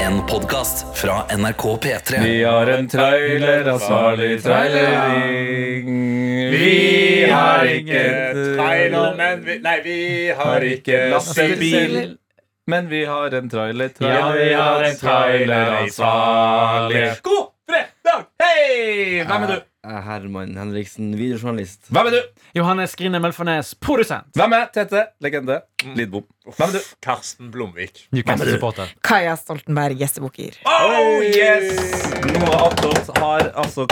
En podcast fra NRK P3 Vi har en trailer, ansvarlig trailering. Vi har ikke trailer, men vi, Nei, vi har ikke lastebil. Men vi har en trailer, Ja, vi har en traileransvarlig. God fredag! Hei! Hvem er du? Jeg er Herman Henriksen, videojournalist. Hvem er du? Johannes Grine Melfarnes, produsent. Hvem er Tete? Legende. Mm. Lidbom. Hvem er du? Karsten Blomvik. Newcastle-supporter. Kaja Stoltenberg, gjestebukker. Oh yes! Noe attåt har altså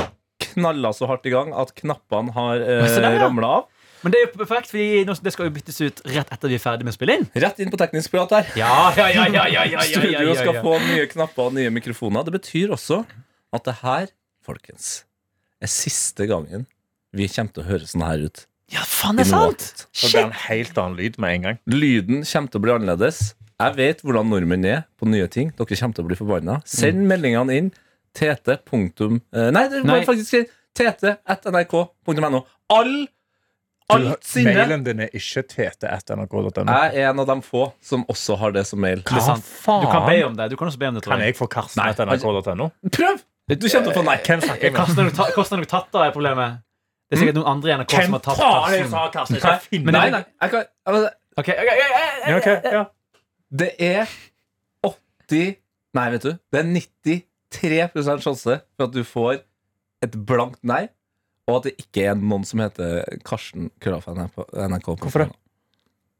knalla så hardt i gang at knappene har Se der, eh, ja. ramla av. Men det er jo perfekt, fordi nå- det skal jo byttes ut rett etter vi er ferdig med å spille inn. Rett inn på teknisk prat her. Ja, ja, ja, ja, ja, ja, ja, ja, Studio ja, skal ja. få nye knapper og nye mikrofoner. Det betyr også at det her, folkens, er siste gangen vi kommer til å høre sånn her ut. Ja, faen, det er sant! Så det blir en helt annen lyd med en gang. Lyden kommer til å bli annerledes. Jeg vet hvordan nordmenn er på nye ting. Dere kommer til å bli forbanna. Mm. Send meldingene inn. Tete. Punktum, eh, nei, det må Nei. jeg faktisk skrive tete.nrk.no. All, alt sinne. Mailen din er ikke tete.nrk.no. Jeg er en av de få som også har det som mail. Det er sant. faen? Du kan be om det. Du kan også be om det, tror Kan jeg. jeg få karsten.nrk.no? Prøv! Du kommer til å få nei. altså, Hvem snakker jeg med? Karsten har nok tatt- Karsten har nok tatt da, er problemet. Det er sikkert noen andre i NRK som Hvem har tatt faen jeg Karsten. sa Karsten? Jeg skal finne Nei, deg. nei. Jeg kan, altså, Ok, ok, ok, ok, Ja, ok. ok, ja. Det er 80 Nei, vet du. Det er 93 sjanse for at du får et blankt nei, og at det ikke er noen som heter Karsten Krøllaf NRK. Hvorfor det?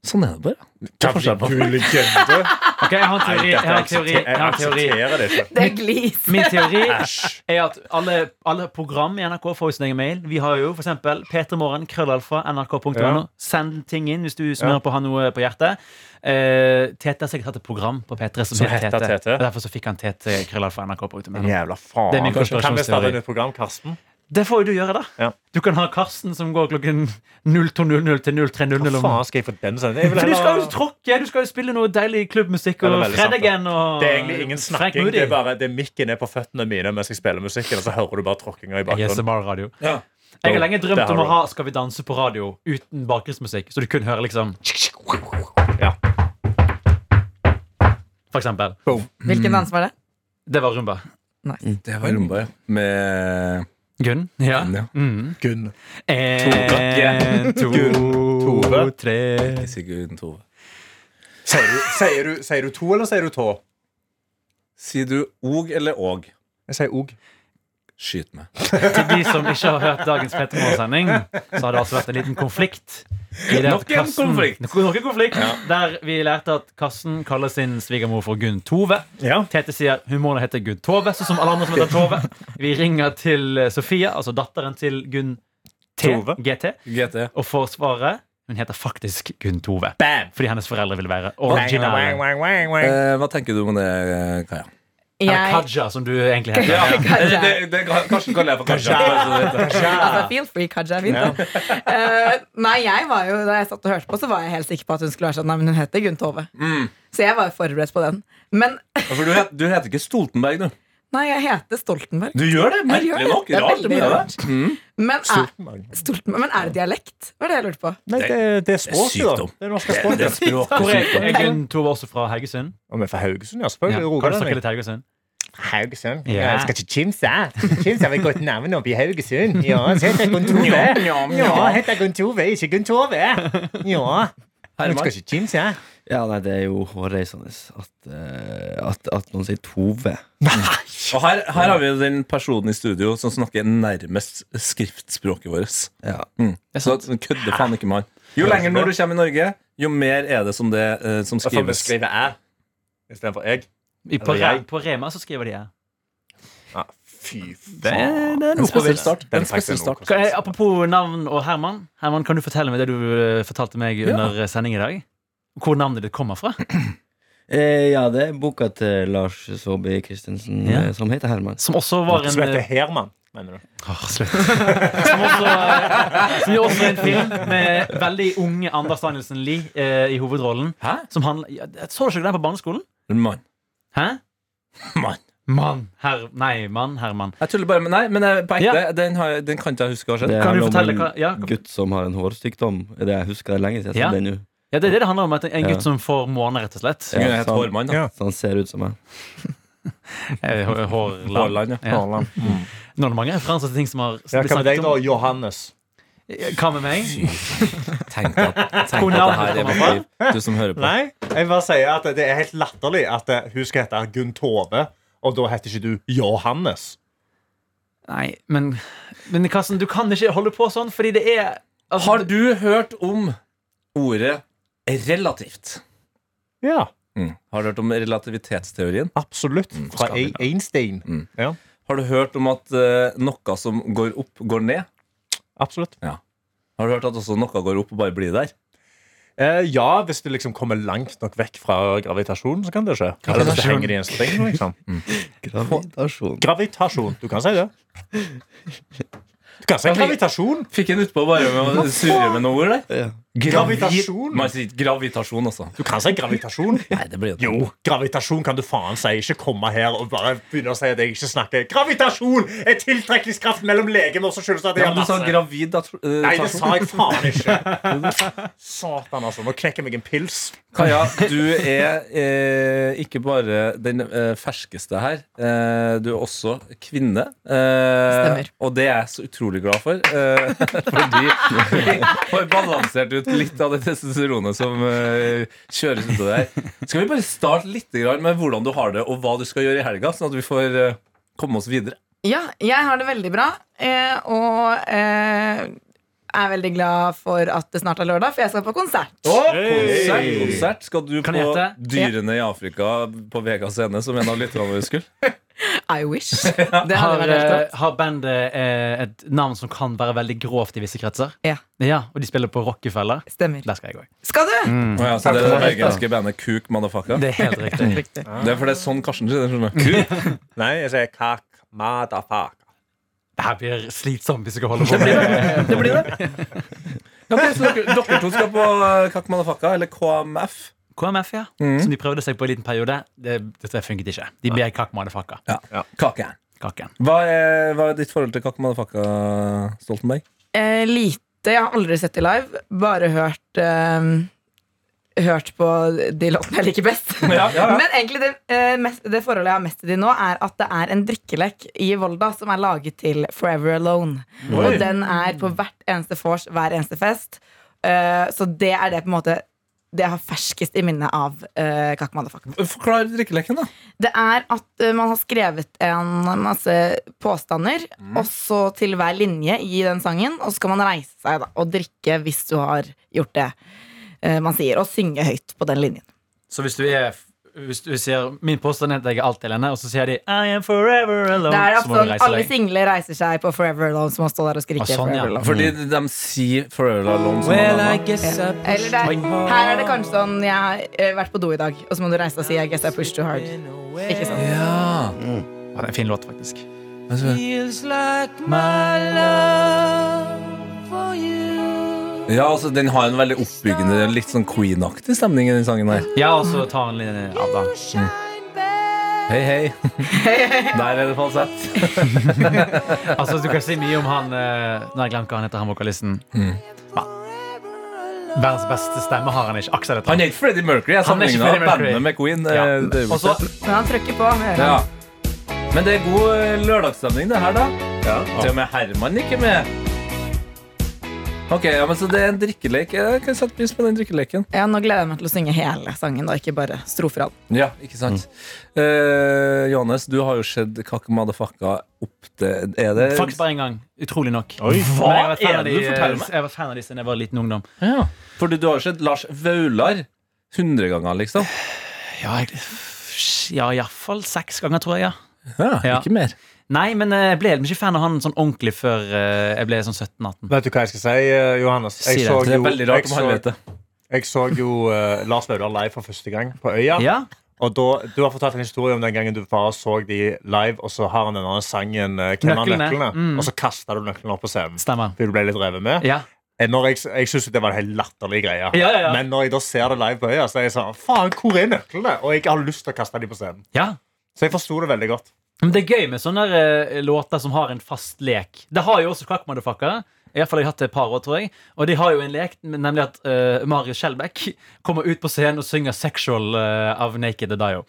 Sånn er det bare. Kan forskjell på. du legende? Ok, jeg har en teori. Jeg har en teori. altså Jeg har en teori. aksepterer det ikke. Det er glis. Min teori Æsj. er at alle, alle program i NRK får jo sin egen mail. Vi har jo f.eks. p3morgen, krøllalfa, nrk.no. Ja. Send ting inn hvis du smører på å ha noe på hjertet. Eh, Tete har sikkert hatt et program på P3 som, Som het heter Tete. Tete. Og Derfor så fikk han Tete krøllalfa nrk.no. En jævla faen. Det er min kan vi starte konspirasjonsteori. et program, Karsten? Det får jo du gjøre, da. Ja. Du kan ha Karsten som går klokken 02.00 til 03.00. Hva om- faen skal jeg få den sånn? Jeg vil For du heller- skal jo tråkke, du skal jo spille noe deilig Ja, klubbmusikk. det er Og veldig sant, Fredagen og Det er egentlig ingen Frank snakking. Moody. Det er bare det er mikken er på føttene mine mens jeg spiller musikken, og så hører du bare tråkkinga i bakgrunnen. ASMR-radio. Ja. Jeg har lenge Det drømt har om å du. ha Skal vi danse på radio uten bakgrunnsmusikk. Så du kun hører liksom Ja. For eksempel. Hvilken dans var det? Det var rumba. Nice. Det var rumba, ja. Med Gunn? Ja. Ja. Mm. Gunn. En, to, Tove. tre Sigurd Tove. Sier du, sier, du, sier du to, eller sier du tå? Sier du og eller og? Jeg sier og. Skyt meg. Til de som ikke har hørt dagens Petermorgen-sending, så har det altså vært en liten konflikt. i det at Nok en Karsten- konflikt. Nok, nok en konflikt Der vi lærte at Karsten kaller sin svigermor for Gunn Tove. Ja. Tete sier hun må da hete Gunn Tove, sånn som alle andre som heter Tove. Vi ringer til eh, Sofia, altså datteren til Gunn T, Tove. GT, GT. og får svaret. Hun heter faktisk Gunn Tove. Bam! Fordi hennes foreldre ville være Wang, wang, originale. wang, wang, wang. Eh, hva tenker du om det, Kaja? Eller Jeg Kaja, som du egentlig heter. Kaja. Karsten kaller jeg for Kaja. Altså, feel free, Kaja. Fint. Eh, nei, jeg var jo, da jeg satt og hørte på, så var jeg helt sikker på at hun skulle være sånn. Nei, men hun heter Gunn Tove. Så jeg var jo forberedt på den. Men For du, het, du heter ikke Stoltenberg, du. nei, jeg heter Stoltenberg. Du gjør det! Jeg gjør det. Det er veldig rart. Men er, Stoltenberg. Stoltenberg, men er det dialekt? Var det jeg lurte på. Nei, det, det er Det er språket, da. sykdom. Det er norske språket. Hvor er, er språket. Gunn Tove også fra Haugesund? Og vi er fra Haugesund, ja. Ja. Selvfølgelig. Kan du snakke Rogaland. litt Haugesund? Haugesund. Ja. Jeg skal til Kimsa. Kimsa er et godt navn oppe i Haugesund. Ja, så heter jeg Gunn Tove. Ja, heter jeg Gunn Tove, ikke Gunn Tove. Ja. Jeg skal til Kimsa. Ja, nei, det er jo hårreisende at, eh, at, at noen sier Tove. Og her, her har vi jo den personen i studio som snakker nærmest skriftspråket vårt. Ja. Mm. Så så kødder faen ikke man. Jo lenger når du kommer i Norge, jo mer er det som, det, eh, som skrives. jeg istedenfor jeg. I- På, Eller jeg. Re- på Rema så skriver de jeg. Ja, fy faen. En spesiell start. Den En spesiell faktisk er start. noe. Kan jeg- Apropos navn og Herman. Herman, Kan du fortelle meg det du eh, fortalte meg under sending i dag? Hvor navnet ditt kommer fra? Eh, ja, det er boka til Lars Saabye Christensen Ja. eh, som heter Herman. Som også var en eh, Som heter Herman, mener du? Åh, slutt. Ah, Som også, eh, som jo også er en film med veldig unge Anders Danielsen Lie eh, i hovedrollen. Hæ? Som handler- ja, jeg så du ikke den på barneskolen? Mann. Hæ? Mann. Mann. Herr... Nei, mann. Herman. Jeg tuller bare med Nei, men jeg, på ekte, den, har, den kan ikke jeg huske har skjedd. Det Kan handler du om fortelle en hva- ja, kom- gutt som har en hårsykdom. Er Det jeg husker det lenge siden. Ja. Ja. Det nå. Ja, det er det det handler om. at En Ja. gutt som får måne, rett og slett. Jeg Ja, het sant. Hårmann, da. Ja. Så han ser ut som meg. Eh, Hå- Haaland, Hårland. ja. Ja. Nå er det mange referanser til ting som har Ja, hva med deg, da, om. Johannes? Hva med meg? Tenk at, tenk at Hvor det navnet her er kommer fra? viktig, du som hører på. Nei, jeg bare sier at det er helt latterlig at eh, hun skal hete Gunn Tove, og da heter ikke du Johannes. Nei, men, men Karsten, du kan ikke holde på sånn, fordi det er altså, Har du hørt om ordet relativt? Ja, Mm. Har du hørt om relativitetsteorien? absolutt. Fra skal vi Ei- Einstein. Mm. Ja, Har du hørt om at eh, noe som går opp, går ned? absolutt. Har du hørt at også noe går opp og bare blir der? Eh, ja, hvis du liksom kommer langt nok vekk fra gravitasjonen, så kan det skje. Eller hvis det Gravitasjon. henger i en streng, liksom. Gravitasjon. Gravitasjon. Du kan si det. Du kan si gravitasjon. Fikk en utpå bare med å surre med noen ord der? Ja. Gravitasjon. Man sier gravitasjon, altså. Du kan si gravitasjon. Nei, det blir Jo, gravitasjon kan du faen si. Ikke komme her og bare begynne å si at jeg ikke snakker. Gravitasjon er tiltrekningskraften mellom legemer som skyldes at jeg Ja, har men du sa masse. gravid eh, Nei, det sa jeg faen ikke. Satan, altså. Nå knekker jeg meg en pils. Kaja, du er eh, ikke bare den eh, ferskeste her. Eh, du er også kvinne. Eh, Stemmer. og det er jeg så utrolig glad for. Eh, fordi vi har balansert ut litt av det testosteronet som eh, kjøres ut av det her. Skal vi bare starte litt grann med hvordan du har det, og hva du skal gjøre i helga? Sånn at vi får eh, komme oss videre. Ja, jeg har det veldig bra. eh, Og eh, er veldig glad for at det snart er lørdag, for jeg skal på konsert. Konsert, konsert. Skal du Kan på jeg gjette? Dyrene i Afrika på Vega scene, som en av lytterne våre skulle? I wish. Det hadde har, vært helt eh, rått. har bandet eh, et navn som kan være veldig grovt i visse kretser? Ja. Og de spiller på Rockefeller? Stemmer. Der skal jeg òg. Skal du? Å ja, så det er det bergenske bandet Kuk Motherfucker? Det er helt riktig. Riktig. Det er for det er sånn Karsten sier det. skjønner du. Nei, jeg sier kak madafaka. Det her blir slitsomt hvis jeg holder på med det. Det blir det. Ok, så dere, dere to skal på eh, Kakk Motherfucker, eller KMF. KMF, ja. Som de prøvde seg på en liten periode. Det, dette funket ikke. De ble kakk motherfucker. Kakejern. Kaken. Hva, er- hva er ditt forhold til Kakk Motherfucker, Stoltenberg? Eh, lite. Jeg har aldri sett de live. Bare hørt eh, Hørt på de låtene jeg liker best. Men egentlig det, eh, mest, det forholdet jeg har mest til de nå, er at det er en drikkelek i Volda som er laget til Forever Alone. Og den er på hvert eneste vors, hver eneste fest. Eh, så det er det på en måte det jeg har ferskest i minnet av uh, Kakk Motherfucker. Forklar drikkeleken, da. Det er at eh, man har skrevet en masse påstander, Mm. og så til hver linje i den sangen, og så skal man reise seg da, og drikke hvis du har gjort det eh, man sier, og synge høyt på den linjen. Så hvis du er hvis du sier, Min påstand er at jeg er alltid alene, og så sier de I am forever alone. Det er så må du sånn, reise Alle deg. single reiser seg på Forever Alone, som må stå der og skrike. Ah, sånn, ja. Forever Alone. Fordi de sier Forever Alone. Som Well, I alle andre. guess I Eller det, her er det kanskje sånn Jeg har eh, vært på do i dag, og så må du reise deg og si I guess I pushed too hard. Ikke sant? ja. Ja, det er en fin låt, faktisk. feels like my love for you. ja, altså Den har en veldig oppbyggende, litt sånn Queen-aktig stemning i den sangen her. Ja, og så tar han litt av, da. Hei, hei. Der er det falsett. Altså, Du kan si mye om han eh, Nå har jeg glemt hva han heter, han vokalisten. Mm. Ja. Verdens beste stemme har han ikke. Aksel heter Han han. er ikke Freddie Mercury. Jeg Han er ikke sammenligna Freddie Mercury. bandet med Queen. eh, Ja. det er jo Og så Men han trykker på. hører han. Ja. Men det er god eh, lørdagsstemning, det her, da. Til og med Herman nikker med. Ok, ja, men Så det er en drikkelek. Jeg kan sette pris på den drikkeleken. Ja, nå gleder jeg meg til å synge hele sangen, da, ikke bare strofer av den. Ja, ikke sant Eh, Johannes, du har jo sett Kakk Madafakka opp til Er det Faktisk bare én gang. Utrolig nok. Oi. Men jeg var fan er av det de- du forteller meg? Jeg var fan av de siden jeg var liten ungdom. Ja. Fordi du har jo sett Lars Vaular 100 ganger, liksom. Ja, jeg, ja iallfall seks ganger, tror jeg. ja Ja, Ja. Ikke mer. Nei, men eh, jeg ble ikke fan av han sånn ordentlig før eh, jeg ble sånn 17-18. Vet du hva jeg skal si, eh, Johannes? Si Jeg det. så Det er jo, veldig rart jeg om så, han vet det. jeg så jo eh, Lars Vaular live for første gang på Øya. Ja, Og da, Du har fortalt en historie om den gangen du bare så de live, og så har han denne sangen eh, 'Hvem har Nøklene. nøklene?' Mm. Og så kasta du nøklene opp på scenen. stemmer. For du ble litt revet med. Ja. Eh, Når jeg, jeg synes det var en helt latterlig greie. Ja, ja, ja. Men når jeg da ser det live på øya, så er jeg sånn Faen, hvor er nøklene? Og jeg har lyst til å kaste dem på scenen. ja. Så jeg forsto det veldig godt. Men det er gøy med sånne eh, låter som har en fast lek. Det har jo også Kakk Motherfucker. Iallfall har jeg hatt det et par år, tror jeg. Og de har jo en lek, nemlig at eh, Marius Skjelbæk kommer ut på scenen og synger 'Sexual' eh, av Naked Dio.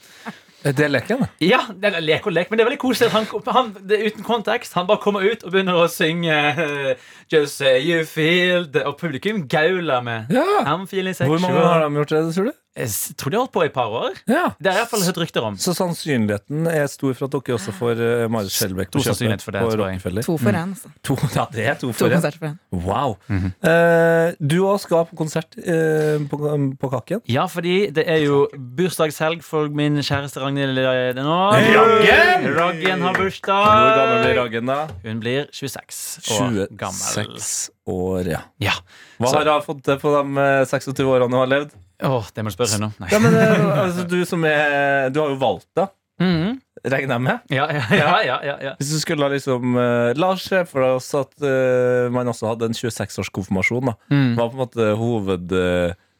Det er leken. Ja, det er lek og lek, men det er veldig koselig at han, han det, er uten kontekst. Han bare kommer ut og begynner å synge eh, Just say you feel the Og publikum gauler med Ja. I'm feeling Hvor sexual. mange har de gjort det, tror du? Jeg s- tror de har holdt på i et par år. Ja. Det har jeg i hvert fall hørt rykter om. Så sannsynligheten er stor for at dere også får eh, Marit Skjelbæk på Stor sannsynlighet kjøpet for det, på tror jeg. Rockefeller. To for Mm. én, altså. To, ja, det er to To for en. konserter for én. Wow. Eh, du òg skal på konsert eh, på, på Kaken. Ja, fordi det er jo bursdagshelg for min kjæreste Ragnhild eh, det nå. Raggen! Raggen har Hvor gammel blir bursdag. Raggen, da? Hun blir 26 år gammel. 26 år, ja. Ja. Hva Så- har hun fått til på de eh, 26 årene hun har levd? Åh, det må du spørre henne om. Nei. Ja, men eh, altså, du, som er, du har jo valgt det, Mhm. regner jeg med. ja, ja, ja, ja, ja, ja. Hvis du skulle ha liksom eh, La oss se for oss at eh, man også hadde en 26-årskonfirmasjon. da Mm. Hva er på en måte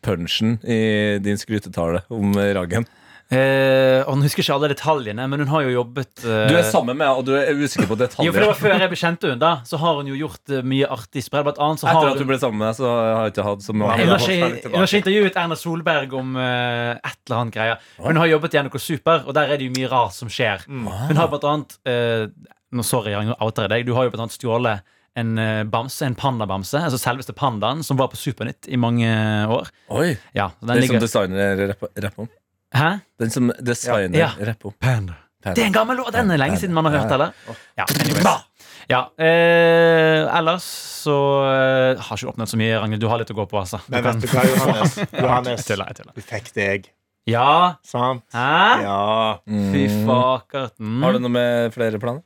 hovedpunchen i din skrytetale om eh, Raggen? Eh, og Hun husker ikke alle detaljene, men hun har jo jobbet eh, Du er sammen med henne, og du er usikker på Jo, for det detaljer. var Før jeg kjente henne, da Så har hun jo gjort eh, mye artig sprell. Blant annet så har Etter at du hun- ble sammen med henne, så har jeg ikke hatt så Hun mange har ikke, hun har ikke intervjuet Erna Solberg om eh, et eller annet greie. Hun har jobbet i NRK Super, og der er det jo mye rart som skjer. Mm. Hun har blant annet eh, Nå sorry, Jan, nå outer jeg deg. Du har jo blant annet stjålet en eh, bamse, en pandabamse, altså selveste pandaen, som var på Supernytt i mange år. Oi, Ja, så den Den som ligger designer rapper om. Hæ? Den som designer Ja. rapper om. Panda. Panda. Det er en gammel låt! Den er lenge siden man har hørt, eller? Ja, Bah! anyways. Ja, eh, ellers så eh, har ikke du oppnådd så mye, Ragnhild. Du har litt å gå på, altså. Du Men kan- vet du hva, Johannes? Jeg Johannes tuller, jeg tuller. du fikk deg, Ja, sant? hæ? Ja. Fy fakerten. Har du noe med flere planer?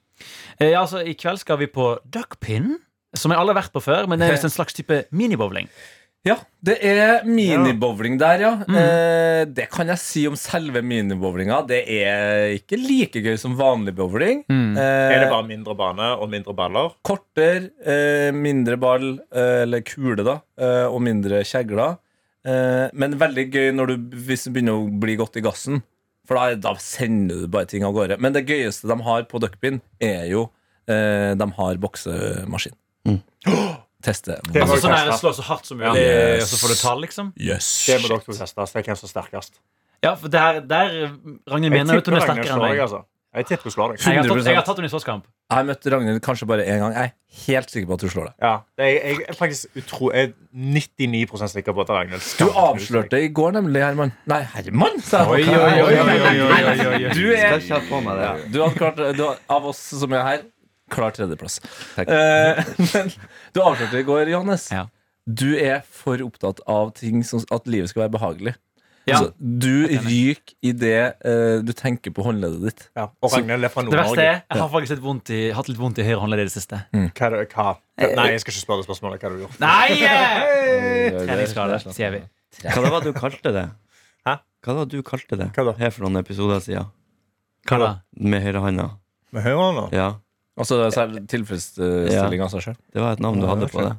Eh, Ja, altså, I kveld skal vi på duckpin, som jeg alle har vært på før. Men det er visst en slags type minibowling. Ja, det er minibowling der, ja. Eh, det kan jeg si om selve minibowlinga. Det er ikke like gøy som vanlig bowling. Mm. Eh, Er det bare mindre bane og mindre baller? Korter, eh, mindre ball, eh, eller kule, da, eh, og mindre kjegler. Eh, men veldig gøy når du, hvis du begynner å bli godt i gassen. For da, da sender du bare ting av gårde. Men det gøyeste de har på duckpin, er jo eh, De har boksemaskin. Teste. Det må Altså du sånn her, teste. Slå så hardt som mulig, Yes. og så får du tall, liksom. Yes. Det må dere to teste. Se hvem som er sterkest. Ja, for der, der Ragnhild Jeg mener jo at hun tipper er Ragnhild sterkere enn slår deg, meg. altså. Jeg tipper hun slår deg. Nei, Jeg har tatt, 100%. jeg har tatt henne i slåsskamp. Jeg møtte Ragnhild kanskje bare én gang. Jeg er helt sikker på at du slår deg. Ja, det er, jeg er faktisk utro, jeg er 99 sikker på at Ragnhild Du skal avslørte i går, nemlig, Herman. Nei, Herman, sa jeg. Du er Skal ikke ha på meg det. Du hadde klart, du, har- av oss som er her, klar tredjeplass. Takk. Eh, men du avslørte i går, Johannes. Ja. Du er for opptatt av ting som, at livet skal være behagelig. Ja. Så du ryker i det eh, du tenker på håndleddet ditt. Ja, og Ragnhild er fra Det verste Nord-Norge. er jeg har faktisk litt vondt i, hatt litt vondt i høyre håndledd i det siste. Hva, er det- hva? Nei, jeg skal ikke spørre det spørsmålet. Hva har du gjort? Nei! eh! Treningsskade, Treningsskade. sier vi. Hva det var du kalte det? Hæ? Hva det var du kalte det? Hva da? Her for noen episoder siden. Hva da? Med høyrehånda. Med høyrehånda? Ja. Altså selv tilfredsstilling av seg sjøl. Det var et navn du Ja, hadde det er på det.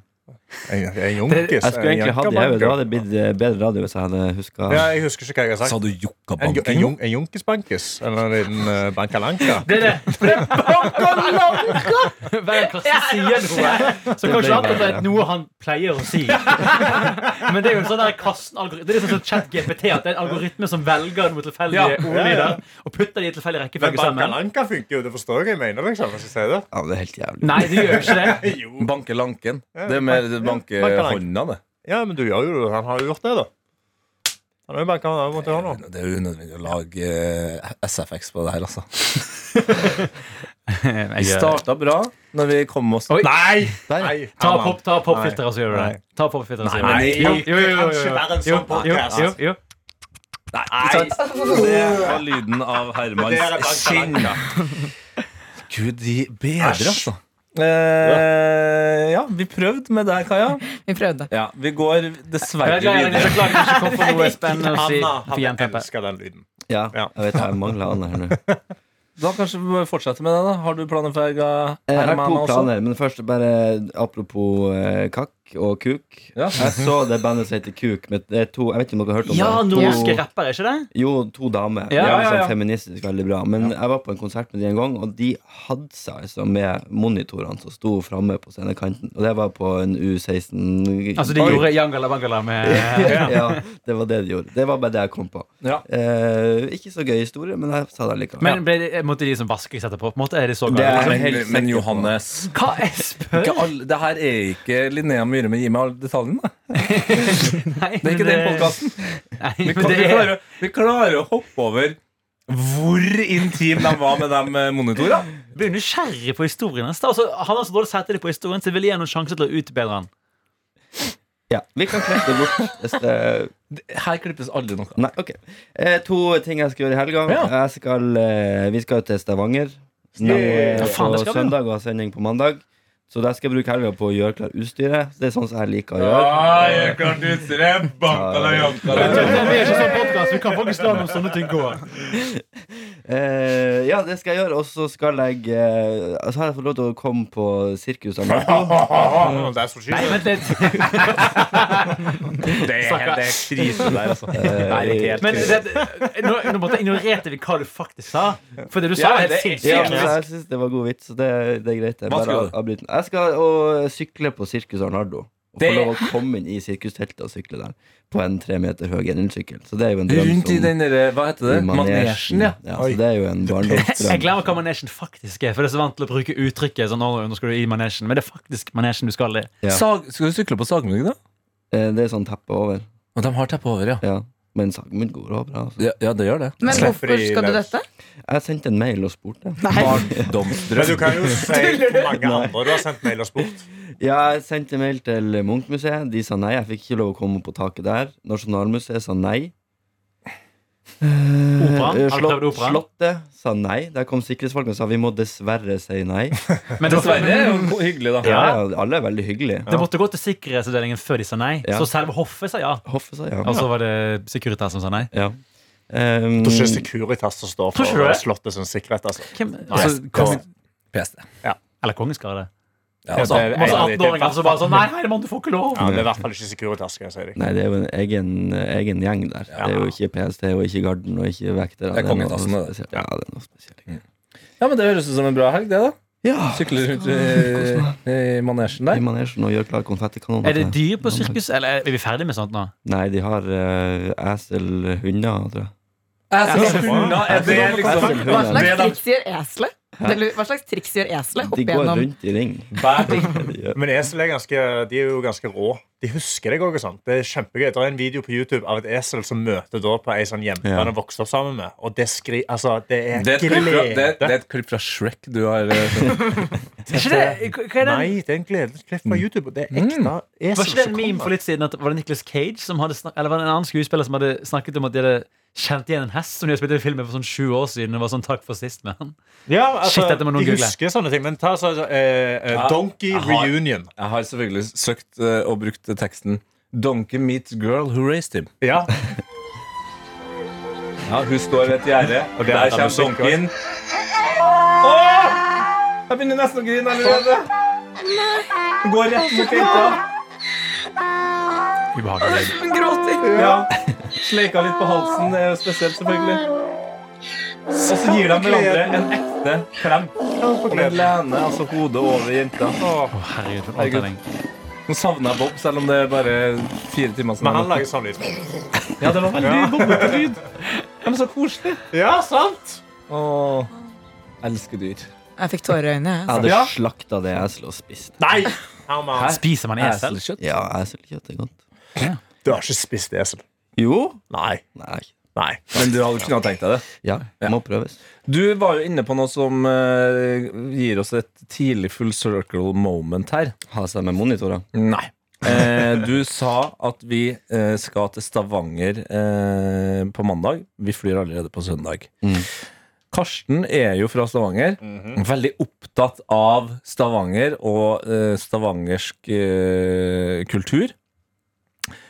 Jeg jeg er junkis. Jeg skulle egentlig hatt det i hodet. Da hadde det blitt eh, bedre radio hvis jeg hadde huska Ja, jeg husker ikke hva jeg har Sa sagt. du En, jokkabanken? ju- en, jun- en junkisbankis? Eller en liten uh, bankalanka? Det er det. Hver gang Karsten sier noe, så kanskje han det er noe han pleier å si. Men det er jo en sånn der Karsten algori- Det er liksom sånn chat-GPT, at det er en algoritme som velger noen tilfeldige Ja, ja, ordlyder og putter de i tilfeldig Men rekkefølge sammen. bankalanka funker jo. Det forstår jeg hva jeg mener. liksom hvis jeg sier det. Ja, det er helt jævlig. Nei, det gjør jo ikke det. Banke lanken. Det er mer det banke banke lanken. hånda, det. Ja, men du gjør jo det. Han har jo gjort det, da. Han har jo banka mot høyrehånda. Det er jo unødvendig å lage eh, SFX på det her, altså. Vi starta bra når vi kom oss Oi. Nei! Ta pop, ta popfilter, og så gjør du det. Ta popfilter, og så gjør Nei, du det. Jo, jo, jo, jo, jo. Jo, jo, jo, jo. Det var lyden av Hermans skinn. Gud de bedre, altså. Eh, ja, vi prøvde med deg, Kaja. Vi prøvde. Ja, vi går dessverre Jeg beklager videre. at det ikke kom på noe spennende å si. for Anna jernteppe. elsker den lyden. Ja, Ja. jeg vet jeg mangler Anna her nå. Eh, Da kanskje vi bare fortsetter med det. da Har du planer for helga, Jeg har Herman? altså? to også? planer, men først bare apropos eh, kakk. Kuk og Kuk. Ja. Jeg så det bandet som heter Kuk. Men det er to, jeg vet ikke om dere har hørt om Ja, det. norske To- rappere, ikke det? Jo, to damer. Ja, Ja, ja, ja. Sånn feministisk veldig bra. Men jeg var på en konsert med de en gang, og de hadde seg altså, med monitorene som sto framme på scenekanten. Og det var på en U16 Altså, de Oi. gjorde Yangala Bangala med ja. ja, det var det de gjorde. Det var bare det jeg kom på. Ja. Eh, ikke så gøy historie, men jeg sa det likevel. Men ble det, måtte de liksom som vaskes etterpå? På en måte er de så Det er- gale? Men, helt men sikker på. Johannes Hva jeg spør? ikke alle, Det her er ikke Linnea Myhre med Gi meg alle detaljene. Nei, Det er ikke den podkasten. Nei, Vi, men kan- det vi, er klarer- vi klarer å hoppe over hvor intim de var med de eh, monitorene. Jeg blir nysgjerrig på historien hans. da. Altså, han har så dårlig selvtillit på historien, så jeg vil gi ham noen sjanse til å utbedre den. Ja, vi kan klippe det bort. Hvis det Her klippes aldri noe. Nei, ok. Eh, to ting jeg skal gjøre i helga. Ja. Jeg skal, eh, vi skal til Stavanger nå, eh, Ja, faen, på det skal vi, søndag og ha sending på mandag. Så der skal jeg bruke helga på å gjøre klar utstyret. Det er sånn som jeg liker å gjøre. jeg klarte utstyret. bankala, Vi er ikke sånn podkast. Vi kan faktisk la noen sånne ting gå. Eh, ja, det skal jeg gjøre. Og så skal jeg eh, Så har jeg fått lov til å komme på Sirkus Amato. Det er så Nei, skitt. vent litt. Det er det er krise der, altså. Nei, det er ikke helt Men det, nå, nå måtte jeg ignorerte vi hva du faktisk sa. For det du sa, Ja, er det- sinnssykt. Ja, Ja, men jeg syns det var god vits, så det, det er greit. Jeg, Hva bare skal du? avbryter den. jeg skal og sykle på Sirkus Arnardo. Og få Det- lov å komme inn i sirkusteltet og sykle der på en tre meter høy elsykkel. Så det er jo en drøm Rundt i den derre Hva heter det? i Manesjen, ja. så det er jo en Jeg barndomsdrøm. glemmer hva manesjen faktisk er. For det er så vant til å bruke uttrykket sånn, «Å, nå skal du i manesjen. Men det er faktisk manesjen du skal Eh, i. Ja. Sag, skal du sykle på Sagmugg, da? Eh, Det er sånn teppe over. Og de har teppe over, ja. Ja. Men sangen min går over. Altså. Ja, ja det gjør det. Men Slipper hvorfor i skal du løs. dette? Jeg sendte en mail og spurte. Nei. Men du Barndomsdrøm. kan jo si hvor mange andre du har sendt mail og spurt. Mm. Ja, jeg sendte mail til Munchmuseet. De sa nei. Jeg fikk ikke lov å komme på taket der. Nasjonalmuseet sa nei. Operaen? Eh, Har du prøvd operaen? Slottet sa nei. Der kom sikkerhetsfolkene og sa vi må dessverre si nei. Men Dessverre er jo ko- hyggelig, da. Ja. Ja, alle er veldig hyggelige. Det måtte gå til sikkerhetsavdelingen før de sa nei. Ja. Så selve hoffet sa ja. Hoffet sa ja. Og så var det Securitas som sa nei. ja. Ehm, Tror ikke Securitas som står Tror ikke du for det? Slottet som sikkerhet. Altså. Hvem? Altså, kong- PST. Eller kongens garde. Ja, altså, Det er en Masse av de- 18-åringer som bare sånn Nei, nei, mann, du får ikke lov. Ja, det er i hvert fall ikke Securitas. Skal jeg si deg. Nei, det er jo en egen, egen gjeng der. Det er jo ikke PST og ikke Garden og ikke vektere. Det er noe kongetassen, det. spesielt. Ja, det er noe spesielt. ja, men Det høres ut som en bra helg, det, da. Ja, Sykle rundt i, i manesjen I der. manesjen sånn og gjør klar konfettikanoner. Er det til- dyr på sirkus? Eller er vi ferdig med sånt nå? Nei, de har uh, eselhunder, tror jeg. Er det liksom Hva Eselhunder. slags triks gjør eselet? Det lurer- Hva slags triks gjør eselet? De Hopp går gjennom rundt i ring. De gjør- Men esel er ganske, de er jo ganske rå. De husker deg òg. Det er kjempegøy. Det er en video på YouTube av et esel som møter da på ei sånn jente Ja. han har vokst opp sammen med. Og det skri... Altså, det er det er, et klipp fra, det, glede. det er et klipp fra Shrek du har eh, sett. Er ikke det, hva er den? Nei, det er en gledesklipp fra YouTube. Og det er ekte esel Var ikke det en som meme for kommer. litt siden at var det Nicolas Cage som hadde snak, Eller var det en annen skuespiller som hadde snakket om at de hadde kjent igjen en hest som de hadde spilt i en film med for sånn sju år siden? Og var sånn takk for sist med han Ja, altså, Shit, dette må noen de google. husker sånne ting. Men ta så, eh, eh, Ja. Donkey Jeg har- Reunion. Jeg har selvfølgelig søkt eh, og brukt teksten Donkey meets girl who raised him. Ja, Ja, Hun står ved et gjerde, og det der er da kommer musikk, donkeyen. Åh! Jeg begynner nesten å grine allerede. Går rett mot jenta. Ubehagelig. Hun gråter. Ja. Sleika litt på halsen, det er jo spesielt, selvfølgelig. Og så gir de hverandre en ekte klem. Og de lener altså hodet over jenta. Å, herregud, for en Herregud. avtelling. Nå savner jeg Bob, selv om det er bare fire timer siden. men han lager sånn lyd. Ja, det var veldig bobbete lyd. De er så koselige. Ja, sant! Åh, elsker dyr. Jeg fikk tårer i øynene. Jeg Jeg. altså. hadde Ja. slakta det eselet og spist det. Nei! Herman. Spiser man esel? Eselkjøtt. Ja, eselkjøtt er godt. Du har ikke spist esel. Jo. Nei. Nei. Nei. Men du hadde kunnet tenkt deg det. Ja, må prøves. Du var jo inne på noe som eh, gir oss et tidlig full circle moment her. Ha seg med monitorer. Nei. Eh, du sa at vi eh, skal til Stavanger eh, på mandag. Vi flyr allerede på søndag. Mm. Karsten er jo fra Stavanger. Veldig opptatt av Stavanger og eh, stavangersk eh, kultur.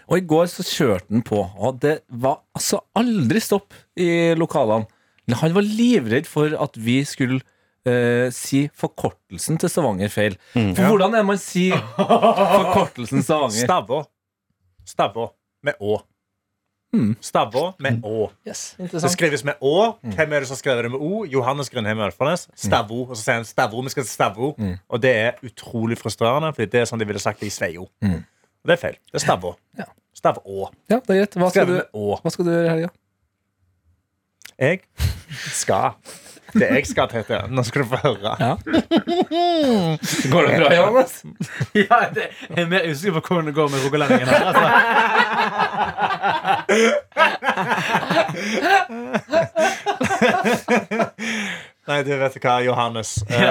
Og i går så kjørte han på, og det var altså aldri stopp i lokalene. Han var livredd for at vi skulle eh, si forkortelsen til Stavanger feil. For hvordan er det man sier forkortelsen Stavanger? Stavå. Stavå med å. Hmm. Stavå med å. Sånn. Det skrives med å. Mm. Hvem er det som skriver det med o? Johannes Grindheim Ølfarnes. Stavå. Og så sier han stavå. Vi skal til stavå. Mm. Og det er utrolig frustrerende, Fordi det er sånn de ville sagt det i Sveio. Mm. Og det er feil. Det er stavå. Stavå. Ja, det er greit. Hva skal, Skrevet du, med å. hva skal du gjøre i helga? Jeg skal. Det jeg skal, Tete. Nå skal du få høre. Går det bra, Johannes? Ja, det jeg er mer usikker på hvordan det går med rogalendingen her. Altså. Nei, du vet hva, Johannes. Det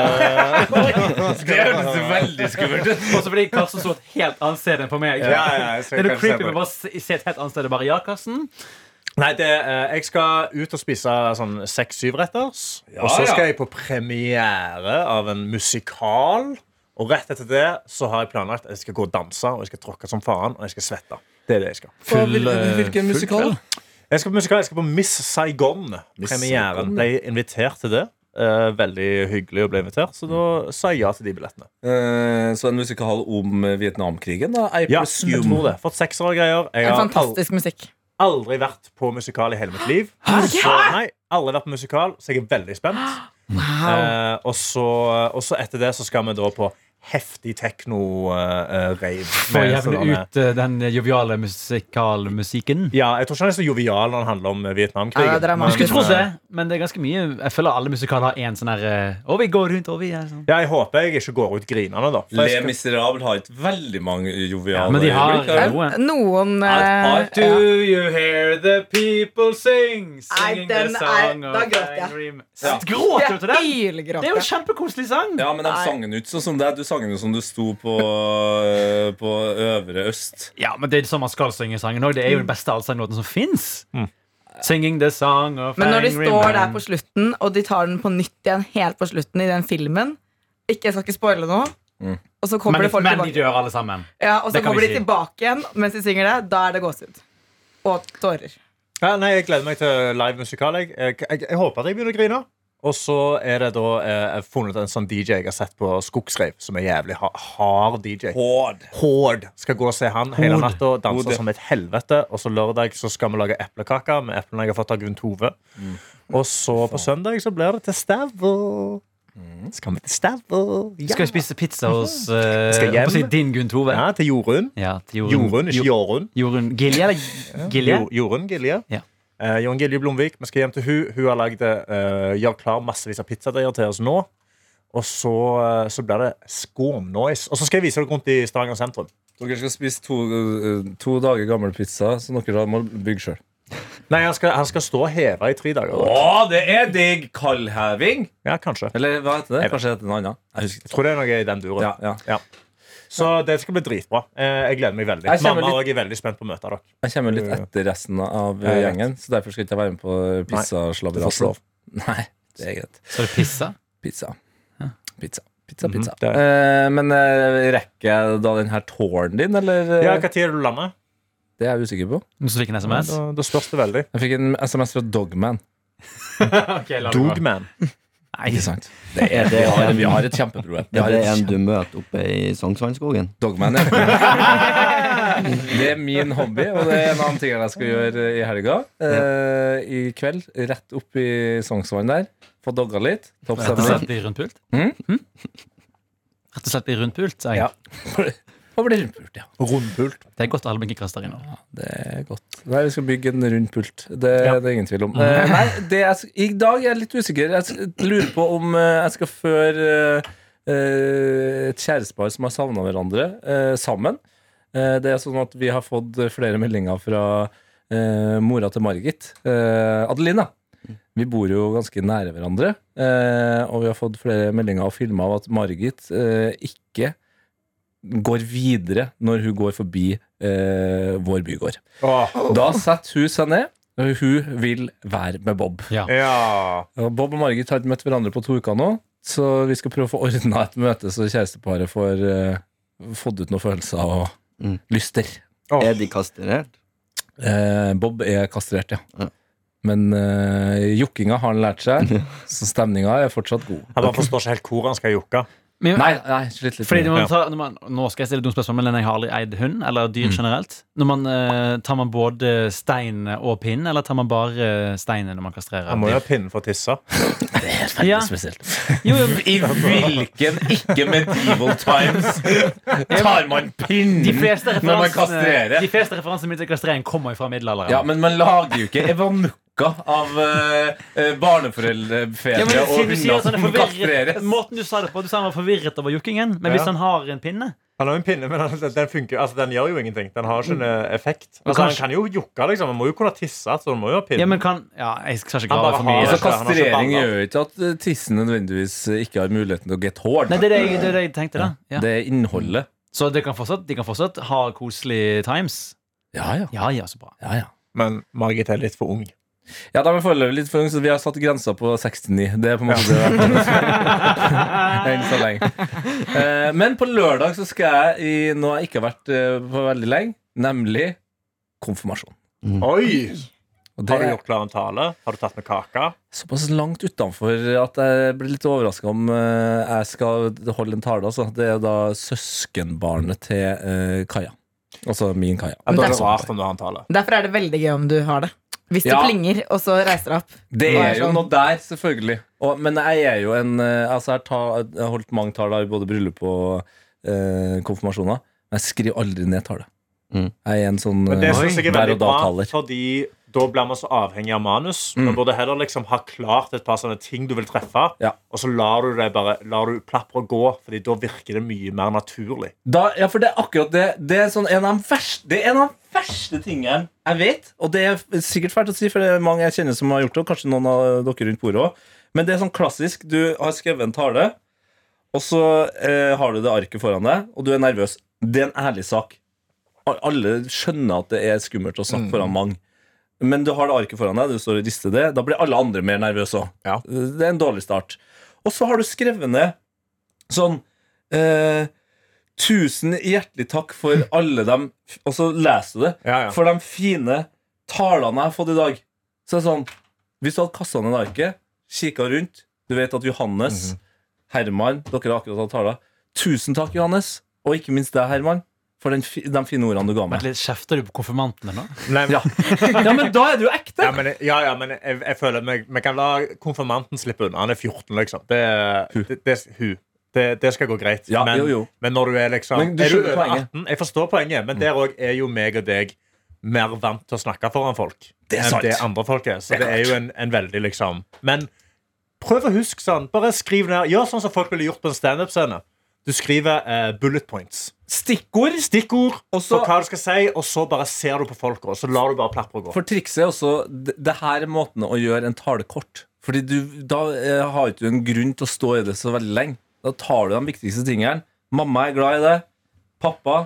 høres veldig skummelt ut. Også fordi Karsten så et helt annet sted enn på meg. Ja, ja, jeg ser kanskje det er noe creepy det. med å bare se se et helt annet sted. og Bare, ja, Karsten. Nei, det, eh, jeg skal ut og spise sånn seks-syvretters. og så ja. skal jeg på premiere av en musikal. Og rett etter det så har jeg planlagt at jeg skal gå og danse og jeg skal tråkke som faen. Og jeg skal svette. Det er det jeg skal. Og hvil- Hvilken musikal? da? Jeg skal på musikal, jeg skal på Miss Saigon. Premieren. Ble invitert til det. Eh, veldig hyggelig å bli invitert, så da sa jeg ja til de billettene. Eh, Så en musikal om eh, Vietnamkrigen, da? I Ja, jeg presume. tror det. Fått sekser og greier. Jeg En har al- fantastisk musikk. aldri vært på musikal i hele mitt liv. Så, nei, aldri vært på musikal, så jeg er veldig spent. Wow. Eh, og, så, og så etter det så skal vi da på heftig eh, tekno-rave. Få jevne ut eh, den joviale musikalmusikken. ja, jeg tror ikke han er så jovial når han handler om eh, Vietnamkrigen. Ja, det er men- eh, Man skulle dramatisk. trodd det, men det er ganske mye. Jeg føler alle musikaler har en sånn her eh, Og vi går rundt, og vi er sånn. ja, jeg håper jeg ikke går ut grinende, da. For Le jeg skal- Miserable har ikke veldig mange joviale Ja, men de har øyeblikk. eh, noen Noen Nei, eh, nei, Do you hear the people sing? Singing den the er- song da of gråter jeg. angry- Ja. Gråter du til den? Det er jo ylgråte. en kjempekoselig sang. Ja, men de Nei. sang den ut sånn som deg. Du sang den jo som du sto på, eh, på Øvre Øst. Ja, men det er sånn man skal synge sangen òg. Det er jo den beste allsanglåten som fins. Singing the song of Men når de angry står men. der på slutten, og de tar den på nytt igjen helt på slutten i den filmen Ikke, Jeg skal ikke spoile noe. Mm. Og så kommer men, det folk men de tilbake, dør alle sammen. ja, og så det kan kommer vi de si. tilbake igjen mens de synger det. Da er det gåsehud. Og tårer. ja, nei, jeg gleder meg til live musikal. Jeg, jeg, jeg, jeg håper at jeg begynner å grine. Og så er det da eh, jeg har funnet en sånn DJ jeg har sett på Skogsreiv, som er jævlig ha hard DJ. Hård. Hård skal gå og se han hele natta og danse Hode. som et helvete. Og så lørdag så skal vi lage eplekaker med eplene jeg har fått av Gunn Tove. Mm. Og så på søndag så blir det til Stavå. Skal vi til Stavå? Ja. Mm. Skal vi spise pizza hos eh, Skal hjem. jeg holdt på å si din Gunn Tove? Ja, til Jorunn. Ja, til Jorunn. Jorunn, ikke Jo- Jorunn. Jorunn Gilje, eller Gilje? Jo- Jorunn Gilje. Ja. Eh, Jorunn Gilje Blomvik. Vi skal hjem til hun Hun har lagd eh, gjør klar massevis av pizzadeiger til oss nå. Og så, eh, så blir det skåmnoise. Og så skal jeg vise dere rundt i Stavanger sentrum. Dere skal spise to, eh, to dager gammel pizza, så dere da må bygge sjøl. Nei, han skal, han skal stå og heve i tre dager. da. det er digg! Kaldheving? Ja, kanskje. Eller hva heter det? Kanskje det heter noe annet? Jeg husker Jeg ikke. tror det er noe i den duren. Ja, ja. Så det skal bli dritbra. Eh, Jeg gleder meg veldig. Jeg kommer Mamma og jeg er veldig spent på å møte dere. Jeg kommer litt etter resten av eh, Ja, greit. gjengen, så derfor skal ikke jeg være med på Du får ikke pizzaslabberasen. lov. Nei, det er greit. Så er det pizza? Pizza. Pizza, pizza, pizza. Mhm, det Eh, men eh, rekker jeg da den her tåren din, eller? eh, Ja, Når er du lander? Det er jeg usikker på. Noen som fikk en Da, SMS? da spørs det veldig. Jeg fikk en SMS fra Dogman. Okay, la det gå. Dogman. Nei, Ikke sant? Det er, det har, vi har et kjempeproblem. Vi Ja, har det et er en kjempe- du møter oppe i Sognsvannskogen. Dogman, ja. Det er min hobby, og det er en annen ting jeg skal gjøre i helga. Eh, I kveld, rett opp i Sognsvann der. Få dogga litt. Topp Rett og stemning. slett i rundt pult? Mm? Mm? Rett og slett i rundt pult, sa jeg. Ja. Og bli rundpult, ja. Rundpult. Det er godt alle ikke kaster inn. nå. Det er godt. Nei, vi skal bygge en rund pult. Det, det er ingen tvil om. Eh, nei, det er, I dag er jeg litt usikker. Jeg s- lurer på om eh, jeg skal føre eh, eh, et kjærestepar som har savna hverandre, eh, sammen. Eh, det er sånn at vi har fått flere meldinger fra eh, mora til Margit. Eh, Adelina. Vi bor jo ganske nære hverandre, eh, og vi har fått flere meldinger og filmer av at Margit eh, ikke går videre når hun går forbi eh, vår bygård. Åh, Da setter hun seg ned. og Hun vil være med Bob. ja. Og Bob og Margit har ikke møtt hverandre på to uker nå, så vi skal prøve å få ordna et møte så kjæresteparet får eh, fått ut noen følelser og Mm. lyster. Åh. Er de kastrert? Eh, Bob er kastrert, ja. Ja. Men uh, jokkinga har han lært seg, så stemninga er fortsatt god. Han bare forstår ikke helt hvor han skal jokke. Men, Nei, nei slitt litt. Fordi med når det. man tar, når man, nå skal jeg stille et dumt spørsmål, men jeg har aldri eid hund eller dyr generelt. Når man, eh, Tar man både stein og pinn, eller tar man bare steinen når man kastrerer? Han må jo dyr? ha pinnen for å tisse. ja. Spesielt. jo, jo, I hvilken ikke-medieval times tar man pinnen de fleste når man referansene, kastrerer? de fleste referansene mine til kastrering kommer jo fra middelalderen. Ja, men man lager jo ikke evanukka av eh, eh, barneforeldrefedre Ja, men og siden du sier hunder at han er som forvirret kastreres. Måten du sa det på, du sa han var forvirret over jokkingen. Men Ja. hvis han har en pinne Han har jo en pinne, men han, den funker jo- altså, den gjør jo ingenting. Den har ikke en eh, effekt. Altså, kanskje- han kan jo jokke, liksom. Han må jo kunne tisse, så han må jo ha Ja, pinne. men kan Ja, jeg skal ikke Han grave bare for har- mye. Altså, Ja, han har ikke kastrering baller. gjør jo ikke at eh, tissen nødvendigvis eh, ikke har muligheten til å get hard. Nei, det er det jeg, det er det jeg tenkte, da. Ja. Det er innholdet. Så de kan, fortsatt, de kan fortsatt ha koselig times? Ja, ja. Ja ja, så bra. ja, ja. Men Margit er litt for ung. Ja, da er vi foreløpig litt for unge, så vi har satt grensa på 69. Det er på en måte det. vi har vært på Enn så lenge. Eh, Men på lørdag så skal jeg i noe jeg ikke har vært eh, på veldig lenge, nemlig konfirmasjon. Oi! Og Har du det er gjort klar en tale? Har du tatt med kake? såpass langt utenfor at jeg blir litt overraska om eh, jeg skal holde en tale. Altså. Det er da søskenbarnet til eh, Kaja. Altså min Kaja. Ja, Men da det er er det rart om du har en tale. Derfor er det veldig gøy om du har det. Hvis Ja. det plinger, og så reiser det opp. Det Hva er er jo sånn? noe der, selvfølgelig. Og, men jeg er jo en eh, Altså, jeg, har ta, jeg har holdt mange taler i både bryllup og eh, konfirmasjoner. Men jeg skriver aldri ned tallet. Mm. Jeg er en sånn Men det eh, synes jeg er der veldig og bra, da-taler. fordi da blir man så avhengig av manus. Man burde heller liksom ha klart et par sånne ting du vil treffe, Ja. og så lar du det bare Lar du plapre gå, Fordi da virker det mye mer naturlig. Da- Ja, for det er akkurat det. Det er, sånn en av de verste, det er en av de verste tingene jeg vet. Og det er sikkert fælt å si, for det er mange jeg kjenner som har gjort det. Og kanskje noen av dere rundt bordet òg. Men det er sånn klassisk. Du har skrevet en tale, og så eh, har du det arket foran deg, og du er nervøs. Det er en ærlig sak. Al- Alle skjønner at det er skummelt å snakke foran mange. Men du har det arket foran deg, du står og rister det. Da blir alle andre mer nervøse òg. Ja. Det er en dårlig start. Og så har du skrevet ned sånn eh, Tusen hjertelig takk for alle dem Og så leser du det Ja, For de fine talene jeg har fått i dag Så er det sånn Hvis du hadde kastet ned arket Kikket rundt Du vet at Johannes Herman Dere har akkurat hatt taler Tusen takk Johannes Og ikke minst deg Herman For den, fi- de fine ordene du ga Vent meg litt, Kjefter du på konfirmantene nå? Nei, men, Ja. ja. Ja, men da er du ekte men, ja, ja, men jeg, jeg føler meg- Vi kan la konfirmanten slippe unna. Han er 14, liksom. Det, det, det, hun. det, det skal gå greit. Ja, men, jo, jo. men når du er liksom Men du Er du skjønner over poenget. Mm. 18? Jeg forstår poenget, men der òg er jo meg og deg mer vant til å snakke foran folk Det er enn sant. det andre folk er. Så Det er det er jo en, en veldig liksom Men prøv å huske sånn. Bare skriv ned. Gjør sånn som folk ville gjort på en standup-scene. Du skriver eh, bullet points. Stikkord Stikkord Og så- for hva du skal si, og så bare ser du på folka, og så lar du bare plapre gå. For trikset er også det, det her er måten å gjøre en tale kort. Fordi du, da eh, har ikke du en grunn til å stå i det så veldig lenge. Da tar du de viktigste tingene. Mamma er glad i deg. Pappa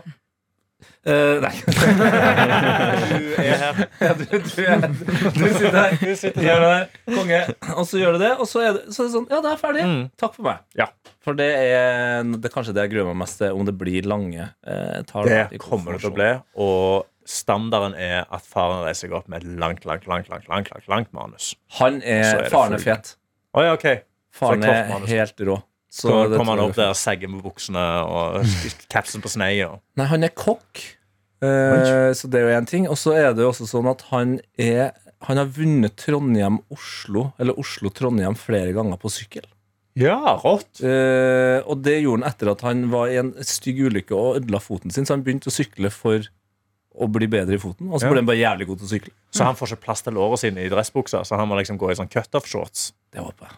eh, Nei, Du er her. du, du, er- du sitter her. Du sitter Gjør der. det der. Konge. Og så gjør du det, og så er det, så er det sånn Ja, da er jeg ferdig. Takk for meg. Mm. Ja. For det er, det er kanskje det jeg gruer meg mest til, om det blir lange eh, taler. i Det kommer det til å bli. Og standarden er at faren reiser seg opp med et langt, langt, langt, langt, langt, langt, langt manus. Han Så er er, det Faren er full. fet. Å ja, ok. Faren Så er det er Kaufmann. helt rå. Så Så det kommer han tror opp jeg- der, segger med buksene og kapsen på sneia. og- Nei, han er kokk. Eh, så det er jo én ting. Og så er det jo også sånn at han er Han har vunnet Trondheim-Oslo, eller Oslo-Trondheim, flere ganger på sykkel. Ja, rått. Eh, og det gjorde han etter at han var i en stygg ulykke og ødela foten sin, så han begynte å sykle for å bli bedre i foten, og så Ja. ble han bare jævlig god til å sykle. Så han får ikke plass til lårene sine i dressbuksa, så han må liksom gå i sånn cutoff-shorts. Det håper jeg.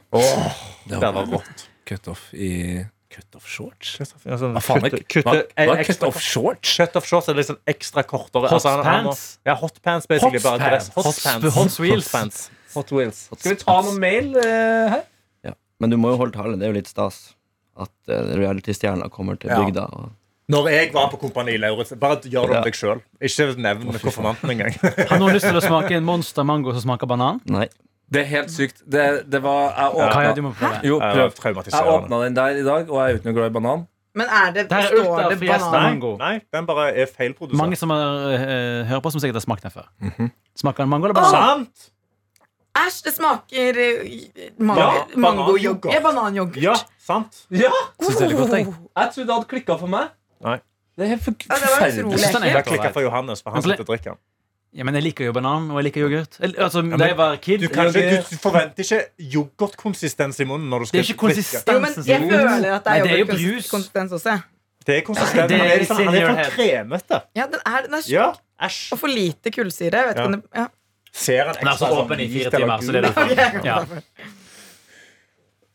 Det Det var håper jeg. rått. Cutoff i Cutoff shorts? Ja, sånn Hva faen er kutte- kutte- hva- hva er ekstra- cutoff shorts? Cutoff shorts er litt sånn ekstra kortere. Hotpants? han- han må- ja, hotpants, basically. Hotpants. Bare dress. Hot- hot wheels. Hotpants. Skal vi ta noe mail eh, her? Ja. Men du må jo holde tale. Det er jo litt stas at uh, reality-stjerna kommer til Ja. bygda. Og Når jeg var på Kompani Lauritz Bare gjør det om Ja. deg sjøl. Ikke nevn konfirmanten engang. Har noen lyst til å smake en monster mango som smaker banan? nei. Det er helt sykt. Det, det var jeg åpna- Kaja, du må prøve. Jo, Det var prøv. Jeg traumatiserende. åpna den der i dag, og jeg er jo ikke noe glad i banan. Men er det, Der er står det ultrafriest banan mango. Nei, den bare er feilprodusert. eh, Mhm. Mange som har, eh, hører på, som sikkert har smakt den før. Smaker den mango eller Ah! banan? Sant! Æsj, det smaker eh, Ja, mango- mangoyoghurt. bananyoghurt. Ja, bananyoghurt. Ja, sant? Ja! Synes det er godt, jeg. Jeg trodde det hadde klikka for meg. Nei. Det er helt Ja, det var forferdelig. utrolig. synes den er Det helt klikker ålreit. for Johannes, for han Men ble- sitter og drikker. Ja, men jeg liker jo banan, og jeg liker yoghurt. Eller, Altså, men Da jeg var kid Du, kan ikke, yoghurt- du forventer ikke yoghurtkonsistens i munnen når du Det skal er ikke drikke. Jo, men konsistensen jeg føler at det Nei, er, det er jo brus. yoghurtkonsistens også. Det er konsistens. Det er Han er litt sånn, han er senior litt sånn kremete. Ja, den er, den er Ja. Og for lite kullsyre. Jeg vet Ja. ikke om det, ja. Ser han Den er ekstra så sånn åpen i hvit fire eller timer, gul? så det er derfor. Ja.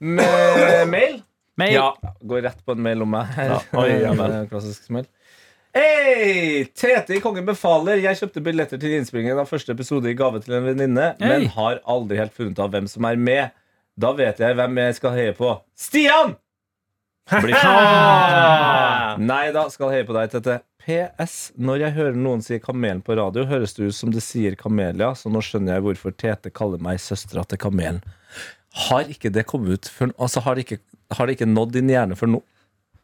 Med mail? Men Ja. Går rett på en mail om meg. her. Oi, ja vel. Eh, Klassisk smell. Hei! Tete i Kongen befaler. Jeg kjøpte billetter til innspillingen av første episode i gave til en venninne, Hei. men har aldri helt funnet av hvem som er med. Da vet jeg hvem jeg skal heie på. Stian! Blir sånn. Nei da, skal heie på deg, Tete. PS. Når jeg hører noen si Kamelen på radio, høres det ut som det sier Kamelia, så nå skjønner jeg hvorfor Tete kaller meg søstera til Kamelen. Har ikke det kommet ut før Altså, har det ikke, har det ikke nådd din hjerne før nå?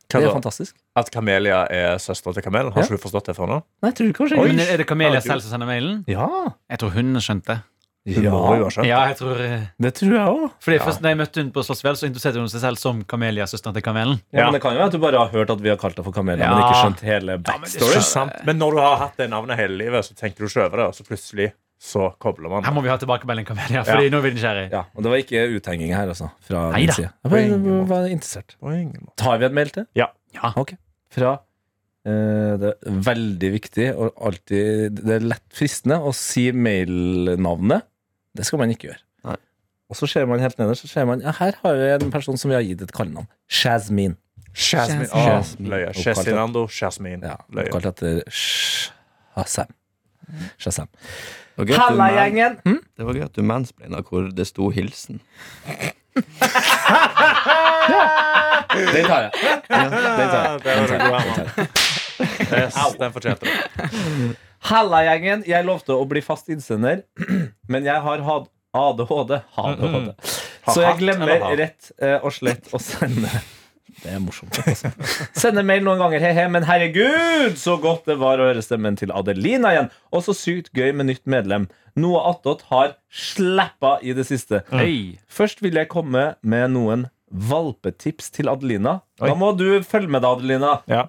Hva Det da? er fantastisk. At Kamelia er søstera til Kamelen? Har ikke du forstått det før nå? Nei, tror du kanskje Oi, men er det Kamelia Ja, du- selv som sender mailen? Ja. Jeg tror hun skjønte. Hun må jo ha skjønt. Ja, jeg tror eh, Det tror jeg òg. Fordi først når jeg møtte hun på Slottsfjell, så introduserte hun seg selv som Kamelia, søsteren til Kamelen. Ja, men det kan jo være at du bare har hørt at vi har kalt deg for Kamelia, men Ja. ikke skjønt hele backstory. Ikke sant? Men når du har hatt det navnet hele livet, så tenker du ikke over det, og så plutselig så kobler man. Her må vi ha tilbakemelding, Kamelia, Fordi nå blir den nysgjerrig. Ja, og det var ikke uthenging her, altså. Fra min Neida. side. Jeg bare var interessert. Tar vi en mail til? Ja. Ja. Ok. Fra eh, Det er veldig viktig og alltid Det er lett fristende å si mailnavnet. Det skal man ikke gjøre. Nei. Og så ser man helt nederst, så ser man ja, her har vi en person som vi har gitt et kallenavn. Shazmin. Jasmine. Jasmine. Løye. Chesinando, Jasmine. Ja, Løye. Kalt etter Shazam. Shazam. Det var gøy at du man- Det var gøy at du mansplaina hvor det sto hilsen. Den tar jeg. Den tar jeg. Ah, Det var det gode, Herman. Yes, den fortjente du. Mm. Halla, gjengen. Jeg lovte å bli fast innsender, men jeg har hatt ADHD. ADHD. Så jeg hatt, eller glemmer har? rett eh, og slett å sende Det er morsomt. Altså. Sende mail noen ganger, he-he, men herregud, så godt det var å høre stemmen til Adelina igjen. Og så sykt gøy med nytt medlem. Noe attåt har slappa i det siste. Hei. Først vil jeg komme med noen valpetips til Adelina. Da Oi. må du følge med, da, Adelina. Ja.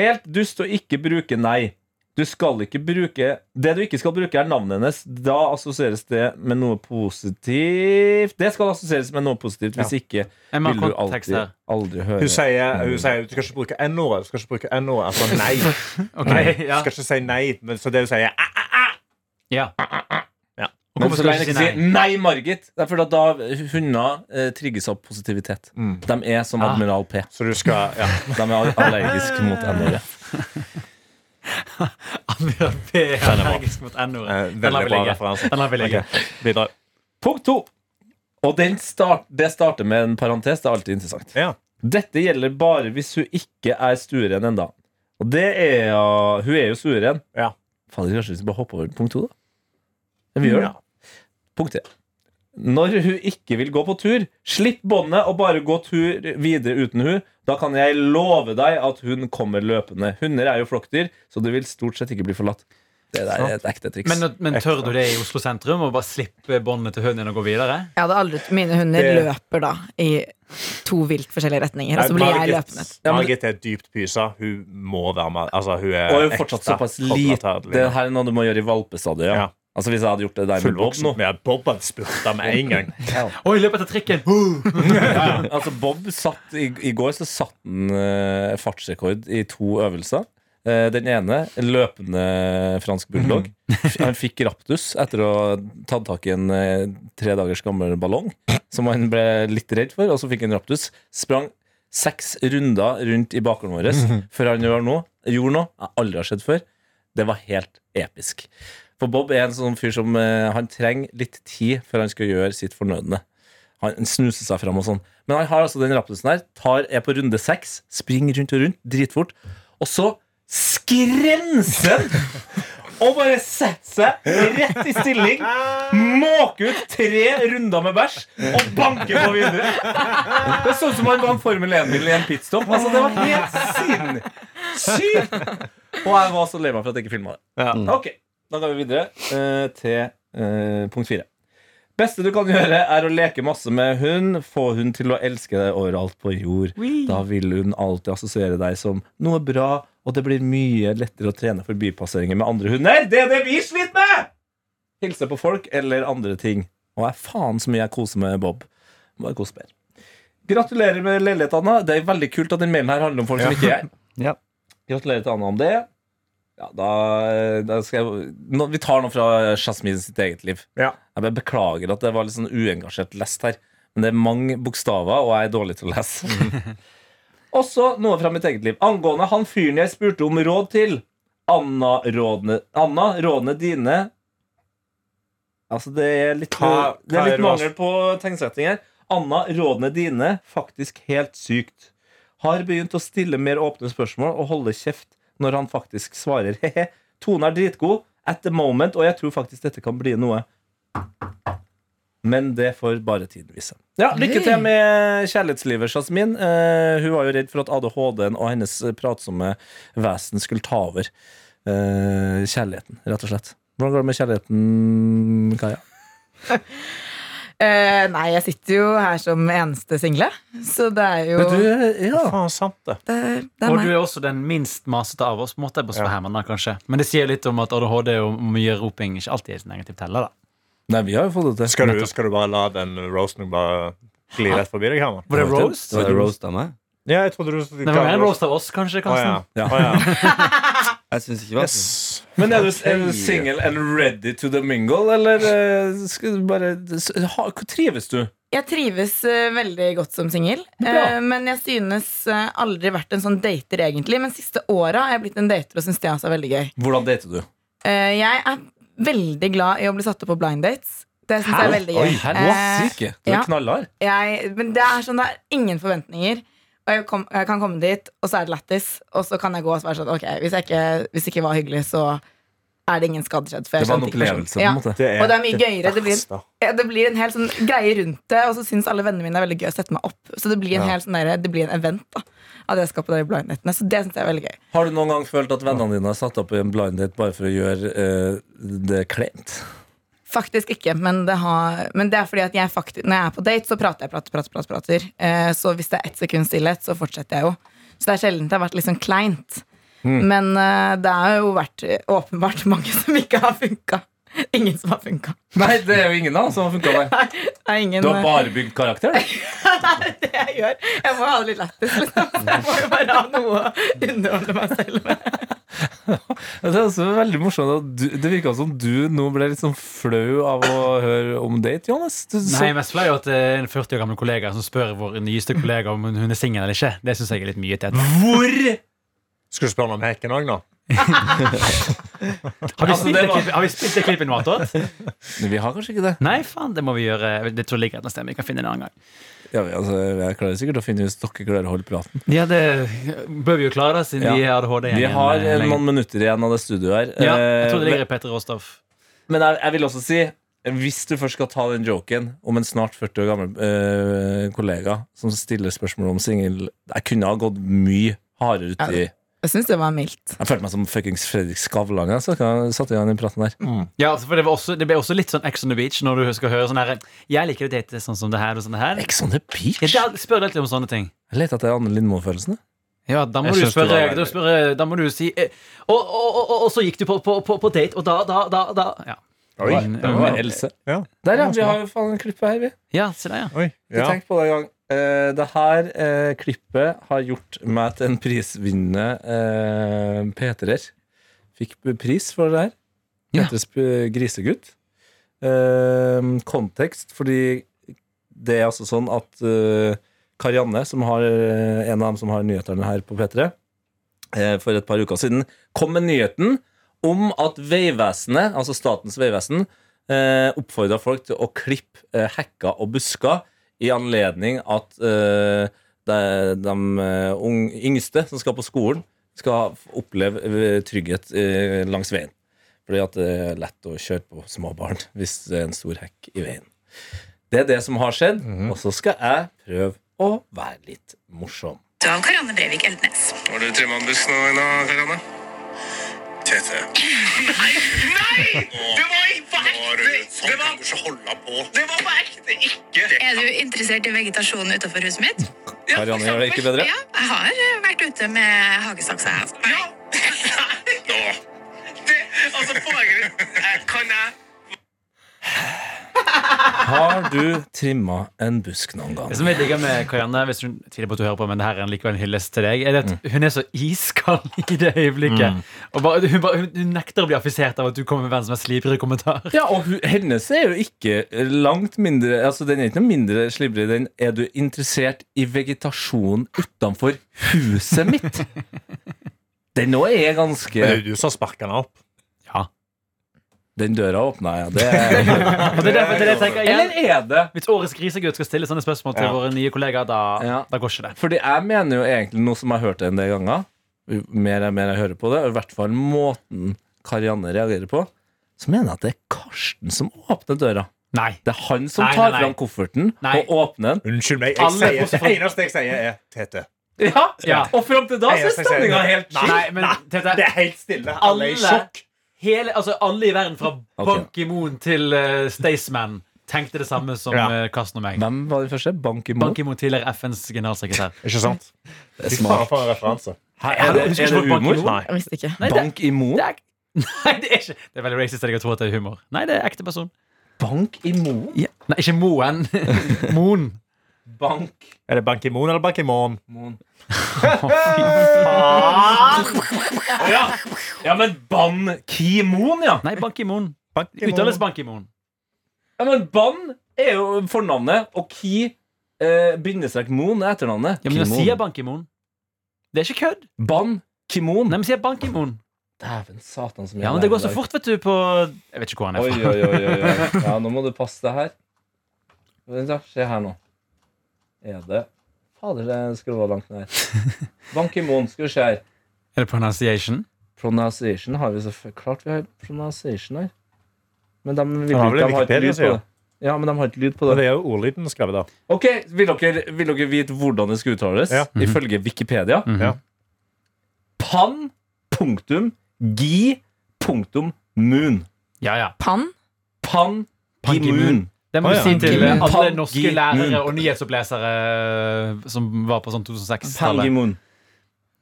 Helt dust å ikke bruke nei. Du skal ikke bruke Det du ikke skal bruke, er navnet hennes. Da assosieres det med noe positivt. Det skal assosieres med noe positivt, hvis ikke Jeg må vil ha du kontekst alltid, her. aldri høre Hun sier, hun sier du skal ikke bruke n-ordet. Du skal ikke bruke n-ordet, altså nei. Ok, nei. Du ja. skal ikke si nei, men så det hun sier, er, ja. Ja. Og Men hvorfor så skal lenge du du si sier nei? nei, Margit. Det er fordi at da hunder eh, trigges av positivitet. De er som Ah. Admiral P. så du skal ja. Eh, De er allergiske mot NRE. Admiral P er allergisk mot N-ordet. Eh, Den Veldig lar vi bra ligge. referanse. Den lar vi ligge. Videre. Punkt to. Og den start, det starter med en parentes. Det er alltid interessant. Ja. Dette gjelder bare hvis hun ikke er stueren ennå. Og det er jo Hun er jo stueren. Ja. Fader, kanskje vi skal bare hoppe over punkt to, da? Men vi gjør det. Ja. Punkt tre. Når hun ikke vil gå på tur, slipp båndet og bare gå tur videre uten hun. Da kan jeg love deg at hun kommer løpende. Hunder er jo flokkdyr, så du vil stort sett ikke bli forlatt. Det der er et ekte triks. Men, men tør du det i Oslo sentrum? Og bare slippe båndet til hunden og gå videre? Jeg hadde aldri, Mine hunder Det- løper da i to vilt forskjellige retninger, og så blir jeg løpende. Margit, Margit er dypt pysa. Hun må være med. Altså, hun er Og er jo fortsatt ekte såpass koblet til lite. Adeline. Det her er noe du må gjøre i valpestadiet. Ja. Ja. Altså Hvis jeg hadde gjort det der med Bob Fullvoksen. nå Ja, Bob hadde spurta med en gang. Oi, løp etter trikken! Uh. Altså Bob satt I, i går så satt han eh, fartsrekord i to øvelser. Eh, den ene løpende fransk bulldog. Han fikk raptus etter å ha tatt tak i en eh, tre dagers gammel ballong, som han ble litt redd for, og så fikk han raptus. Sprang seks runder rundt i bakgården vår før han gjorde noe, gjorde noe jeg aldri har sett før. Det var helt episk. For Bob er en sånn fyr som eh, Han trenger litt tid før han skal gjøre sitt fornødne. Han snuser seg fram og sånn. Men han har altså den raptusen her. Tar, er på runde seks, springer rundt og rundt, dritfort. Og så skrenser han! Og bare setter seg rett i stilling, måker ut tre runder med bæsj og banker på videre. Det så ut som han var en Formel 1-bil i en pitstop. Altså, det var helt sinnssykt! Og jeg var så lei meg for at jeg ikke filma det. Ja. Ok, Da går vi videre eh, til eh, punkt fire. Beste du kan gjøre, er å leke masse med hund. Få hun til å elske deg overalt på jord. Da vil hun alltid assosiere deg som noe bra, og det blir mye lettere å trene forbipasseringer med andre hunder. Det er det vi sliter med! Hilse på folk eller andre ting. Og er faen så mye jeg koser med Bob. Bare kos mer. Gratulerer med leiligheten, Anna. Det er veldig kult at den mailen her handler om folk som ikke jeg. Ja. Gratulerer til Anna om det. Ja, da, da skal jeg nå, Vi tar noe fra Jasmin sitt eget liv. Ja. Jeg bare beklager at det var litt sånn uengasjert lest her. Men det er mange bokstaver, og jeg er dårlig til å lese. Også noe fra mitt eget liv. Angående han fyren jeg spurte om råd til. Anna rådene, Anna, rådene dine Altså, det er litt, Hva- det er hva er litt det du har- mangel på tegnsetting her. Anna, rådene dine faktisk helt sykt. Har begynt å stille mer åpne spørsmål og holde kjeft når han faktisk svarer. Hehe. Tone er dritgod at the moment, og jeg tror faktisk dette kan bli noe. Men det får bare tiden vise. Ja, Lykke til med kjærlighetslivet, Jasmin. Eh, hun var jo redd for at ADHD-en og hennes pratsomme vesen skulle ta over eh, kjærligheten, rett og slett. Hvordan går det med kjærligheten, Kaja? Eh, nei, jeg sitter jo her som eneste single, så det er jo Men du, ja. Faen, sant det. det, er- det er Og du meg. er også den minst masete av oss. Måtte jeg bare Ja. spørre Herman da, kanskje Men det sier litt om at ADHD og mye roping ikke alltid er så negativt heller. da Nei, vi har jo fått det til. Skal du, skal du bare la den roasten bare gli rett forbi deg, Herman? Var det roast? Det var roast av meg? Ja, jeg trodde du Det var en roast av oss, Å ja. kanskje. Karsten Å, ja. Jeg syns ikke det. var Yes. sånn. Men er du, er du single and ready to the mingle, eller eh, skal du bare ha, hvor Trives du? Jeg trives eh, veldig godt som singel, eh, men jeg synes eh, aldri vært en sånn dater, egentlig. Men siste åra har jeg blitt en dater og syns det også er veldig gøy. Hvordan dater du? Eh, jeg er veldig glad i å bli satt opp på blind dates. Det syns jeg er veldig gøy. Oi, Eh, Syke. Du er ja. knallhard. jeg, men det er sånn, det er ingen forventninger. Og jeg, kom, jeg kan komme dit, og så er det lættis. Og så kan jeg gå og svare sånn Ok, hvis jeg ikke, hvis det ikke var hyggelig, så er sånn det ingen skadd skjedd. for jeg Det var en kjente ikke personen. opplevelse, på en måte. Det Og det er mye gøyere. Det blir, verste. ja, det blir en hel sånn greie rundt det, og så syns alle vennene mine det er veldig gøy å sette meg opp. Så det blir en, Ja. hel sånn der, det blir en event da av det jeg skal på de blind datene. Så det syns jeg er veldig gøy. Har du noen gang følt at vennene dine har satt opp i en blind date bare for å gjøre eh, det kleint? Faktisk ikke, men det, har, men det er fordi at jeg faktisk, når jeg er på date, så prater jeg, prater, prater, prater. prater. Eh, så hvis det er ett sekund stillhet, så fortsetter jeg jo. Så det er sjelden det har vært liksom kleint. Hmm. Men eh, det har jo vært eh, åpenbart mange som ikke har funka. Ingen som har funka. Nei, det er jo ingen av som har funka der. Det er ingen eh, Du har bare bygd karakter, du. Det er det jeg gjør. Jeg må ha det litt lættis, liksom. Så Jeg må jo bare ha noe å underholde meg selv med. Det er også veldig morsomt at du, Det virka som du nå ble litt sånn flau av å høre om date, Johannes. Du, så, Nei, mest flau er jo at det er en 40 år gammel kollega som spør vår nyeste kollega om hun er singel eller ikke. Det syns jeg er litt mye tett. hvor?! Skal du spørre noe om hekken òg nå? Har vi Altså, det spilt det var- klippet- har vi spilt det klippet nå, Atot? Vi har kanskje ikke det. Nei, faen, det må vi gjøre. Det tror jeg ligger et eller annet sted. men Vi kan finne det en annen gang. Ja, vi- altså, jeg klarer sikkert å finne ut hvis dere klarer å holde praten. Ja, det bør vi jo klare, da, siden Ja. vi er ADHD-gjengen. Vi har eh, lenge. noen minutter igjen av det studioet her. Ja, jeg tror det Eh, ligger i Peter Råstoff. Men jeg, jeg vil også si hvis du først skal ta den joken om en snart 40 år gammel eh, kollega som stiller spørsmål om singel Jeg kunne ha gått mye hardere uti Jeg syns det var mildt. Jeg følte meg som fuckings Fredrik Skavlan. Jeg så kan jeg satte i gang den praten der. Ja, altså, for det, var også, det ble også litt sånn Ex on the Beach når du skal høre sånn her Jeg liker å date sånn som det her og sånn det her. Ex on the beach? Ja, det er- spør deg litt om sånne ting. Jeg leter etter Anne Lindmo-følelsene. Ja, da må, Jeg synes du det spørre, var da, spørre, da må du si eh, og, og, og, og, og så gikk du på, på, på, på date, og da, da, da, da Ja, Oi. Men, Det var Else. Ja. Der, ja. Vi har jo faen klippet her, vi. ja se der, ja. Oi. Ikke Ja. tenk på det engang. Uh, det her eh, klippet har gjort meg til en prisvinnende uh, P3-er. Fikk b- pris for det her. Ja. P3s p- grisegutt. Eh, kontekst, fordi det er altså sånn at eh, Karianne, som har, eh, en av dem som har nyhetene her på P3, eh, for et par uker siden, kom med nyheten om at Vegvesenet, altså Statens vegvesen, eh, oppfordra folk til å klippe eh, hekker og busker i anledning at eh, de, de eh, ung, yngste som skal på skolen, skal f- oppleve eh, trygghet eh, langs veien. Fordi at det er lett å kjøre på små barn hvis det er en stor hekk i veien. Det er det som har skjedd, og så skal jeg prøve å være litt morsom. Karianne Brevik Eltnes. Har du trimma bussen din da, Karianne? Du, Tete. Nei! Det var ikke på ekte! Det var ikke holde på. Det var på ekte ikke. Er du interessert i vegetasjonen utenfor huset mitt? Karianne gjør det ikke bedre. Ja, jeg har eh, vært ute med hagesaksa. jeg, altså. Ja. Nå. Det, altså, foregår Kan jeg Har du trimma en busk noen gang? Det som jeg digger med Karianne, hvis hun tidligere på at du hører på, men det her er likevel en hyllest til deg, er det at hun er så iskald i det øyeblikket. Og bare, hun, bare, hun, hun nekter å bli affisert av at du kommer med verdens mest slibrige kommentar. Ja, og hu- hennes er jo ikke langt mindre Altså, Den er ikke noe mindre slibrig. Den er du interessert i vegetasjonen utenfor huset mitt. Den nå er ganske Men det er jo du som har sparket den opp. Den døra åpna, ja. Det er, Og det er derfor det er det jeg tenker eller igjen. er det? Hvis årets grisegutt skal stille sånne spørsmål til Ja. våre nye kollegaer, da, Ja. da går ikke det. Fordi jeg mener jo egentlig noe som jeg har hørt en del ganger jo Mer og mer jeg hører på det Og i hvert fall måten Karianne reagerer på Så mener jeg at det er Karsten som åpner døra Nei. Det er han som Nei, tar nei, nei. fram kofferten Nei. Og åpner den Unnskyld meg. Alle Jeg også sier, fra- det eneste jeg sier, er Tete. ja, Ja. og frem til da så er Eneste jeg sier- stemningen helt Nei, men Tete, Det er helt stille. Alle er i Alle- sjokk. hele, altså, alle i verden fra Ok. Ban Ki-moon til uh, Staysman tenkte det samme som Ja. eh, Karsten og meg. Hvem var det første? Bank i mål? Ban Ki-moon, tidligere FNs generalsekretær. Ikke sant? Det er smart. for en referanse. Er det, er det humor? Nei. Jeg visste ikke. Bank i mål? Det er Nei, det er ikke Det er veldig racist av deg å tro at det er humor. Nei, det er ekte person. Bank i mål? Nei, ikke Moen. Moen. Bank Er det Bank Imon eller Bank Imon? Ja, ja men Ban Ki-moon, ja Nei, Bankimon. Bank Uttales Bankimon. Ja, men Ban er jo fornavnet Og Ki eh, Bindestrek Moon er etternavnet Ja, men jeg Kimon. sier Bankimon. Det er ikke kødd. Ban Kimon. Nei, men sier Bankimon. Dæven satan som jeg Ja, men det går lærer så i dag. fort, vet du, på Jeg vet ikke hvor han Oi, er fra. oi, oi, oi, oi. Ja, nå må du passe deg her. Vent, da. Se her nå. Er det Fader, det skrolla langt ned her. Ban Kimon, skal vi se her. Er det pronunciation? Pronunciation har vi så f- Klart vi har pronunciation her. Men de vil Den har ikke vel de har ikke Wikipedia, lyd på sier det. Ja, men de har ikke lyd på Og det. det er jo ordlyden skrevet der. Ok, Vil dere, vil dere vite hvordan det skal uttales? Ja. Ifølge Wikipedia. Mhm. Ja. Pan punktum gi punktum moon. Ja, ja. Pann? Pan gi Gi moon. moon. Det må Å, du ja. si til eh, Bankimon. alle norske Bankimon. lærere og nyhetsopplesere som var på sånn 2006-tallet. Pangimun.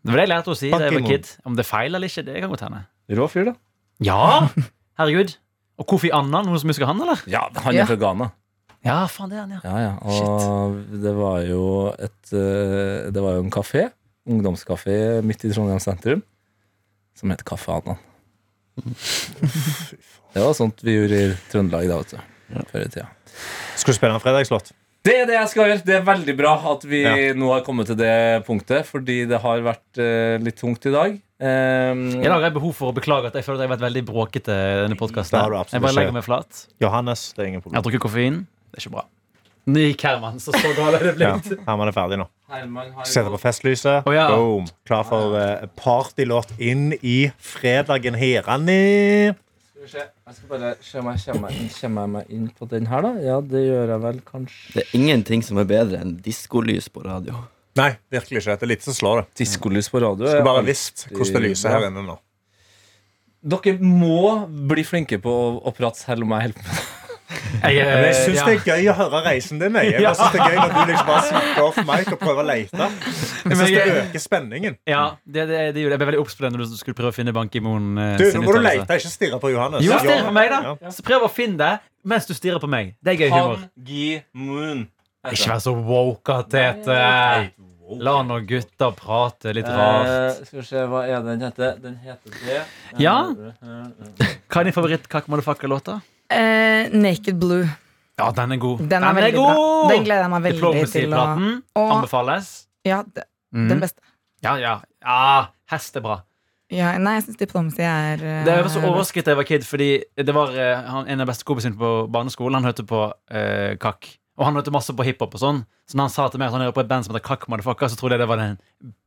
Det var det jeg lærte å si da jeg var Bankimon. kid. Om det er feil eller ikke, det kan godt hende. Rå fyr, da. Ja! Herregud. Og Kofi Annan, noen som husker han, eller? Ja, han Ja. er fra Ghana. Ja, faen, det er han, ja. Ja, ja. Og det var jo et eh, Det var jo en kafé. Ungdomskafé midt i Trondheim sentrum. Som het Kaffe Anan. Det var sånt vi gjorde i Trøndelag da, vet du. Før i tida. Skal du spille en fredagslåt? Det er det jeg skal gjøre. Det er veldig bra at vi Ja. nå har kommet til det punktet, fordi det har vært eh, litt tungt i dag. Ehm, Jeg har allerede behov for å beklage at jeg føler at jeg har vært veldig bråkete. i denne podcasten. Det har du absolutt Jeg bare legger ikke. meg flat. Johannes, det er ingen Jeg har problem. drukket koffein. Det er ikke bra. Ny Kerman, så så gal er det Ja. blitt. Herman er ferdig nå. Herman har Setter på festlyset. Å, ja. Boom. Klar for eh, partylåt inn i fredagen herani. Skal vi se. Jeg skal bare se om jeg kommer, meg- kommer jeg meg inn på den her, da. Ja, det gjør jeg vel kanskje. Det er ingenting som er bedre enn diskolys på radio. Nei, virkelig ikke. Det er lite som slår det. Diskolys på radio. Skulle bare ja. visst hvordan det lyser her inne nå. Dere må bli flinke på å, å prate selv om jeg holder på med det. Jeg, Men jeg eh, syns ja. det er gøy å høre reisen din. Jeg, jeg bare synes det er gøy når du liksom bare snakker off mic og prøver å lete. Jeg synes det øker spenningen. ja, det, det, det, gjorde- jeg ble veldig obs på det når du skulle prøve å finne Bankimon. eh, Du, sin nå må du uttalelse. lete, ikke stirre på Johannes. Jo, stirr på meg, Ja. da. Så prøv å finne det mens du stirrer på meg. Det er gøy humor. Gi Moon. Ikke vær så woke, Tete. La nå gutta prate litt rart. Eh, skal vi se, hva er det den heter? Den heter det Eh, Ja. Eh. Hva er din favoritt Kakk Motherfucker-låta? Eh, Naked Blue. Ja, den er god. Den er veldig bra. Den gleder jeg meg veldig til å Diplomacy-platen Og anbefales. ja, de- Mm. den beste. Ja, ja. ja hest er bra. Ja, nei, jeg syns Diplomacy er eh, Det var så overrasket da jeg var kid, fordi det var eh, han- en av beste kompisene på barneskolen. Han hørte på eh, kakk. Og han hørte masse på hiphop og sånn. Så når han sa til meg at han hører på et band som heter Kakk Motherfucker, så trodde jeg det var den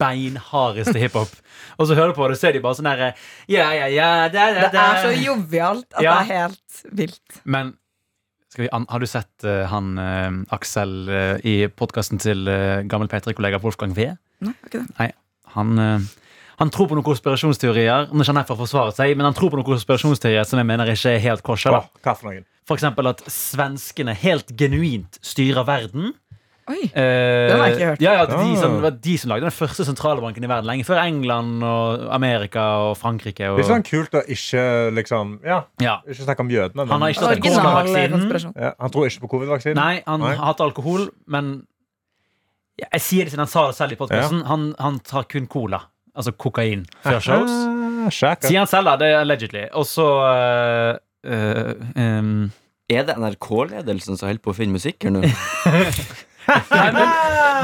beinhardeste hiphop. og så hører du på det, og så er de bare sånn derre ja, ja, ja, da, da, Det da. er så jovialt at Ja. det er helt vilt. Men skal vi, an- har du sett eh, han eh, Aksel eh, i podkasten til eh, gammel P3-kollega Wolfgang V? Nei, det var ikke det. Han, eh, Han tror på noen konspirasjonsteorier. Nå kjenner jeg for å forsvare seg, men han tror på noen konspirasjonsteorier som jeg mener ikke er helt korsa. Åh, Hva for noen? F.eks. at svenskene helt genuint styrer verden. Oi. Eh, Den har jeg ikke hørt. Ah. Ja, ja, de, som, det var de som lagde den første sentralbanken i verden, lenge før England og Amerika og Frankrike. Og, Litt sånn kult å ikke liksom Ja, ja. ikke snakke om jødene. Han har ikke tatt Original covid-vaksinen. konspirasjon. ja, han tror ikke på covid-vaksinen. Nei, han Nei. hater alkohol, men Ja, Jeg sier det siden han sa det selv i podkasten. Han, han tar kun cola, altså kokain, før shows. Ah, sjekk. Sier han selv, da. Det er allegedly. Og så eh, eh, em, Er det NRK-ledelsen som holder på å finne musikk her nå? Nei, men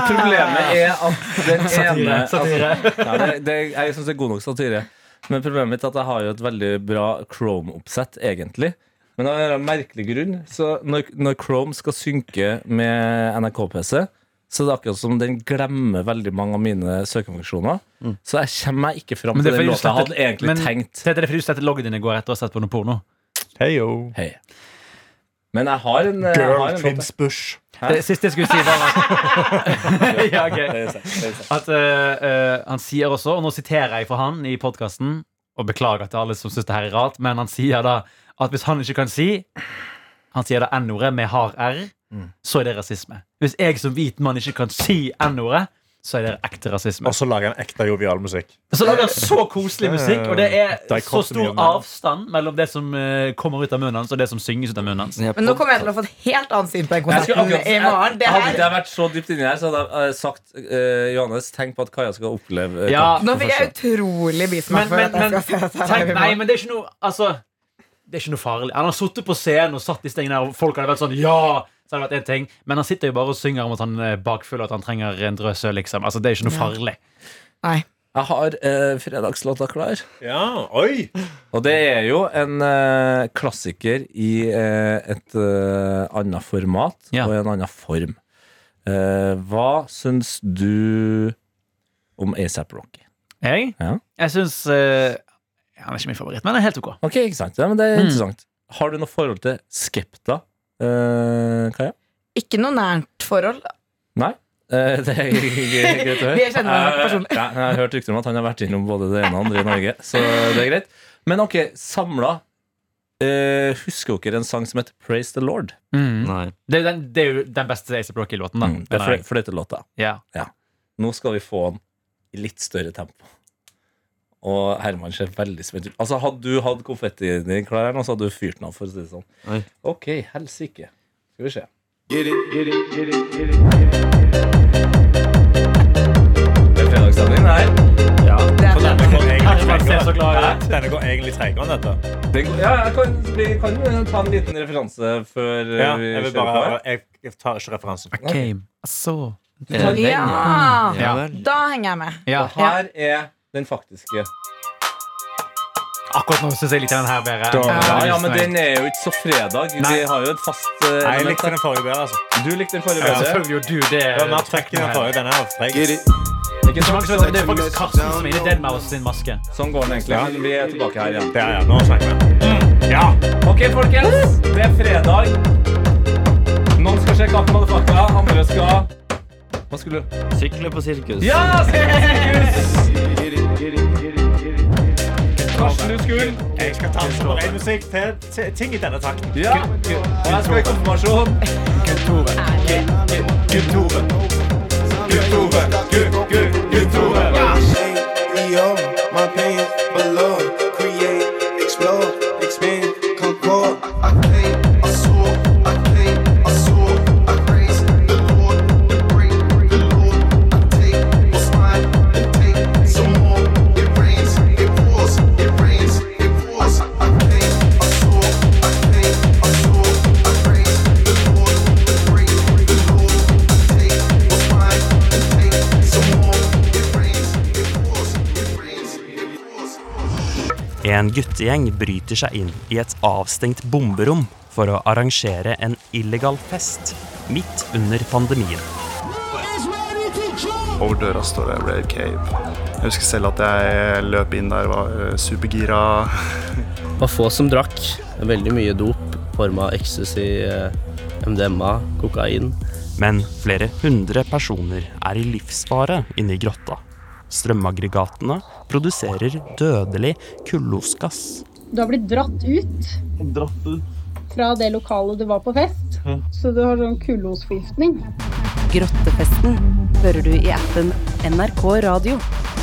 problemet er at den ene Satire. satire. altså, nei, det, det, Jeg syns det er god nok satire. Men problemet mitt er at jeg har jo et veldig bra Chrome-oppsett, egentlig. Men av en eller annen merkelig grunn Så når, når Chrome skal synke med NRK-PC, så er det akkurat som den glemmer veldig mange av mine søkefunksjoner. Så jeg kommer meg ikke fram Mm. Men til den det er fordi du låta jeg hadde slettet- egentlig men- tenkt. Tete, det er fordi du slettet loggen din i går etter å ha sett på noe porno. Heyo. Hei. Men jeg har en eh, jeg har Girl en låt. Trims Bush. Det siste jeg skulle si, var at, ja, ok. Det er sant, det er sant. at eh, eh, Han sier også, og nå siterer jeg fra han i podkasten, og beklager til alle som syns det her er rart, men han sier da at hvis han ikke kan si Han sier da N-ordet med hard R, så er det rasisme. Hvis jeg som hvit mann ikke kan si N-ordet, så er det ekte rasisme. Og så lager han ekte jovial musikk. Så lager han så koselig musikk, og det er så Dichotomy stor av det. avstand mellom det som eh, kommer ut av munnen hans, og det som synges ut av munnen hans. Men nå kommer jeg til å få et helt annet syn på Jeg den skulle konserten akkurat- i morgen. Det Hadde ikke her. jeg vært så dypt inni her, så hadde jeg eh, sagt eh, Johannes, tenk på at Kaja skal oppleve eh, Ja, kamp Nå for fikk jeg første gang. utrolig bismak Men- for at men- jeg skal se dette her Tenk, live i nei, morgen. men det er ikke noe Altså, det er ikke noe farlig. Han har sittet på scenen og satt de stengene der, og folk hadde vært sånn Ja! Så hadde det vært en ting Men han sitter jo bare og synger om at han er bakfull, og at han trenger en drøs øl, liksom. Altså, det er ikke noe farlig. Nei. Jeg har eh, fredagslåta klar. Ja, oi! Og det er jo en eh, klassiker i eh, et eh, annet format Ja. og i en annen form. Eh, hva syns du om ASAP Rocky? Jeg, Ja. jeg syns eh, Han er ikke min favoritt, men han er helt ok. Ok, ikke sant? Ja, men det er Mm. interessant. Har du noe forhold til Skepta, eh, Kaja? Ikke noe nært forhold. Nei. Eh, Det er greit å høre. Vi er kjent med hverandre personlig. Eh, ja, Jeg har hørt rykter om at han har vært innom både det ene og andre i Norge, så det er greit. Men ok, samla. eh, husker dere en sang som heter Praise the Lord? Nei. Det, er jo den, det er jo den beste Ace of Rocky-låten, da. Mm, det er fløy- fløytelåta. ja. Nå skal vi få den i litt større tempo. Og Herman ser veldig spent ut. Altså, Hadde du hatt konfettien din klar her nå, så hadde du fyrt den av. for å si det sånn. Oi. Ok, helsike. Skal vi se. Det er fredagsstemning, det her. Denne går Herman Det er ser så egentlig glad ut. treigere. Denne går egentlig treigere enn dette. Det går, ja, jeg kan, vi kan jo ta en liten referanse før eh, Ja, vi jeg, vil kjører bare, på her. jeg, jeg tar ikke referansen. Came. Så. Er det den, Ja. Ja vel. Da henger jeg med. Ja. Og her er den faktiske. Akkurat nå syns jeg liker den her bedre. enn Ja, den ja, men resten jeg- den er jo ikke så fredag. Nei. Vi har jo et fast eh, Nei, jeg element likte her. den forrige bedre. altså Du likte den forrige Ja, bedre. Selvfølgelig gjorde du det. Det var mer trøkk i den forrige. Denne er treig. Ikke så mange som vet det, det er faktisk Karsten som er inne i Dead Mouse sin maske. Sånn går den egentlig. Men vi er tilbake her igjen. Det er, ja. Nå snakker vi. Mm, Ja! Ok, folkens. Det er fredag. Noen skal sjekke opp motherfucka. Andre skal Hva skulle du Sykle på sirkus. Ja! Sirkus! Karsten, du skulle Jeg skal ta med ren musikk til til ting i denne takten. Ja. Og jeg skal i konfirmasjon. Gutt-Tore. Gutt-Tore. Gutt-Tore. En guttegjeng bryter seg inn i et avstengt bomberom for å arrangere en illegal fest midt under pandemien. Over døra står det Rave Cave. Jeg husker selv at jeg løp inn der, var eh, supergira. var få som drakk. Veldig mye dop. Forma ecstasy, eh, MDMA, kokain. Men flere hundre personer er i livsfare inne i grotta. Strømaggregatene produserer dødelig kullosgass. Du har blitt dratt ut Dratt ut. fra det lokalet du var på fest, Mhm. så du har sånn kullosforgiftning. Grottefesten hører du i appen NRK Radio.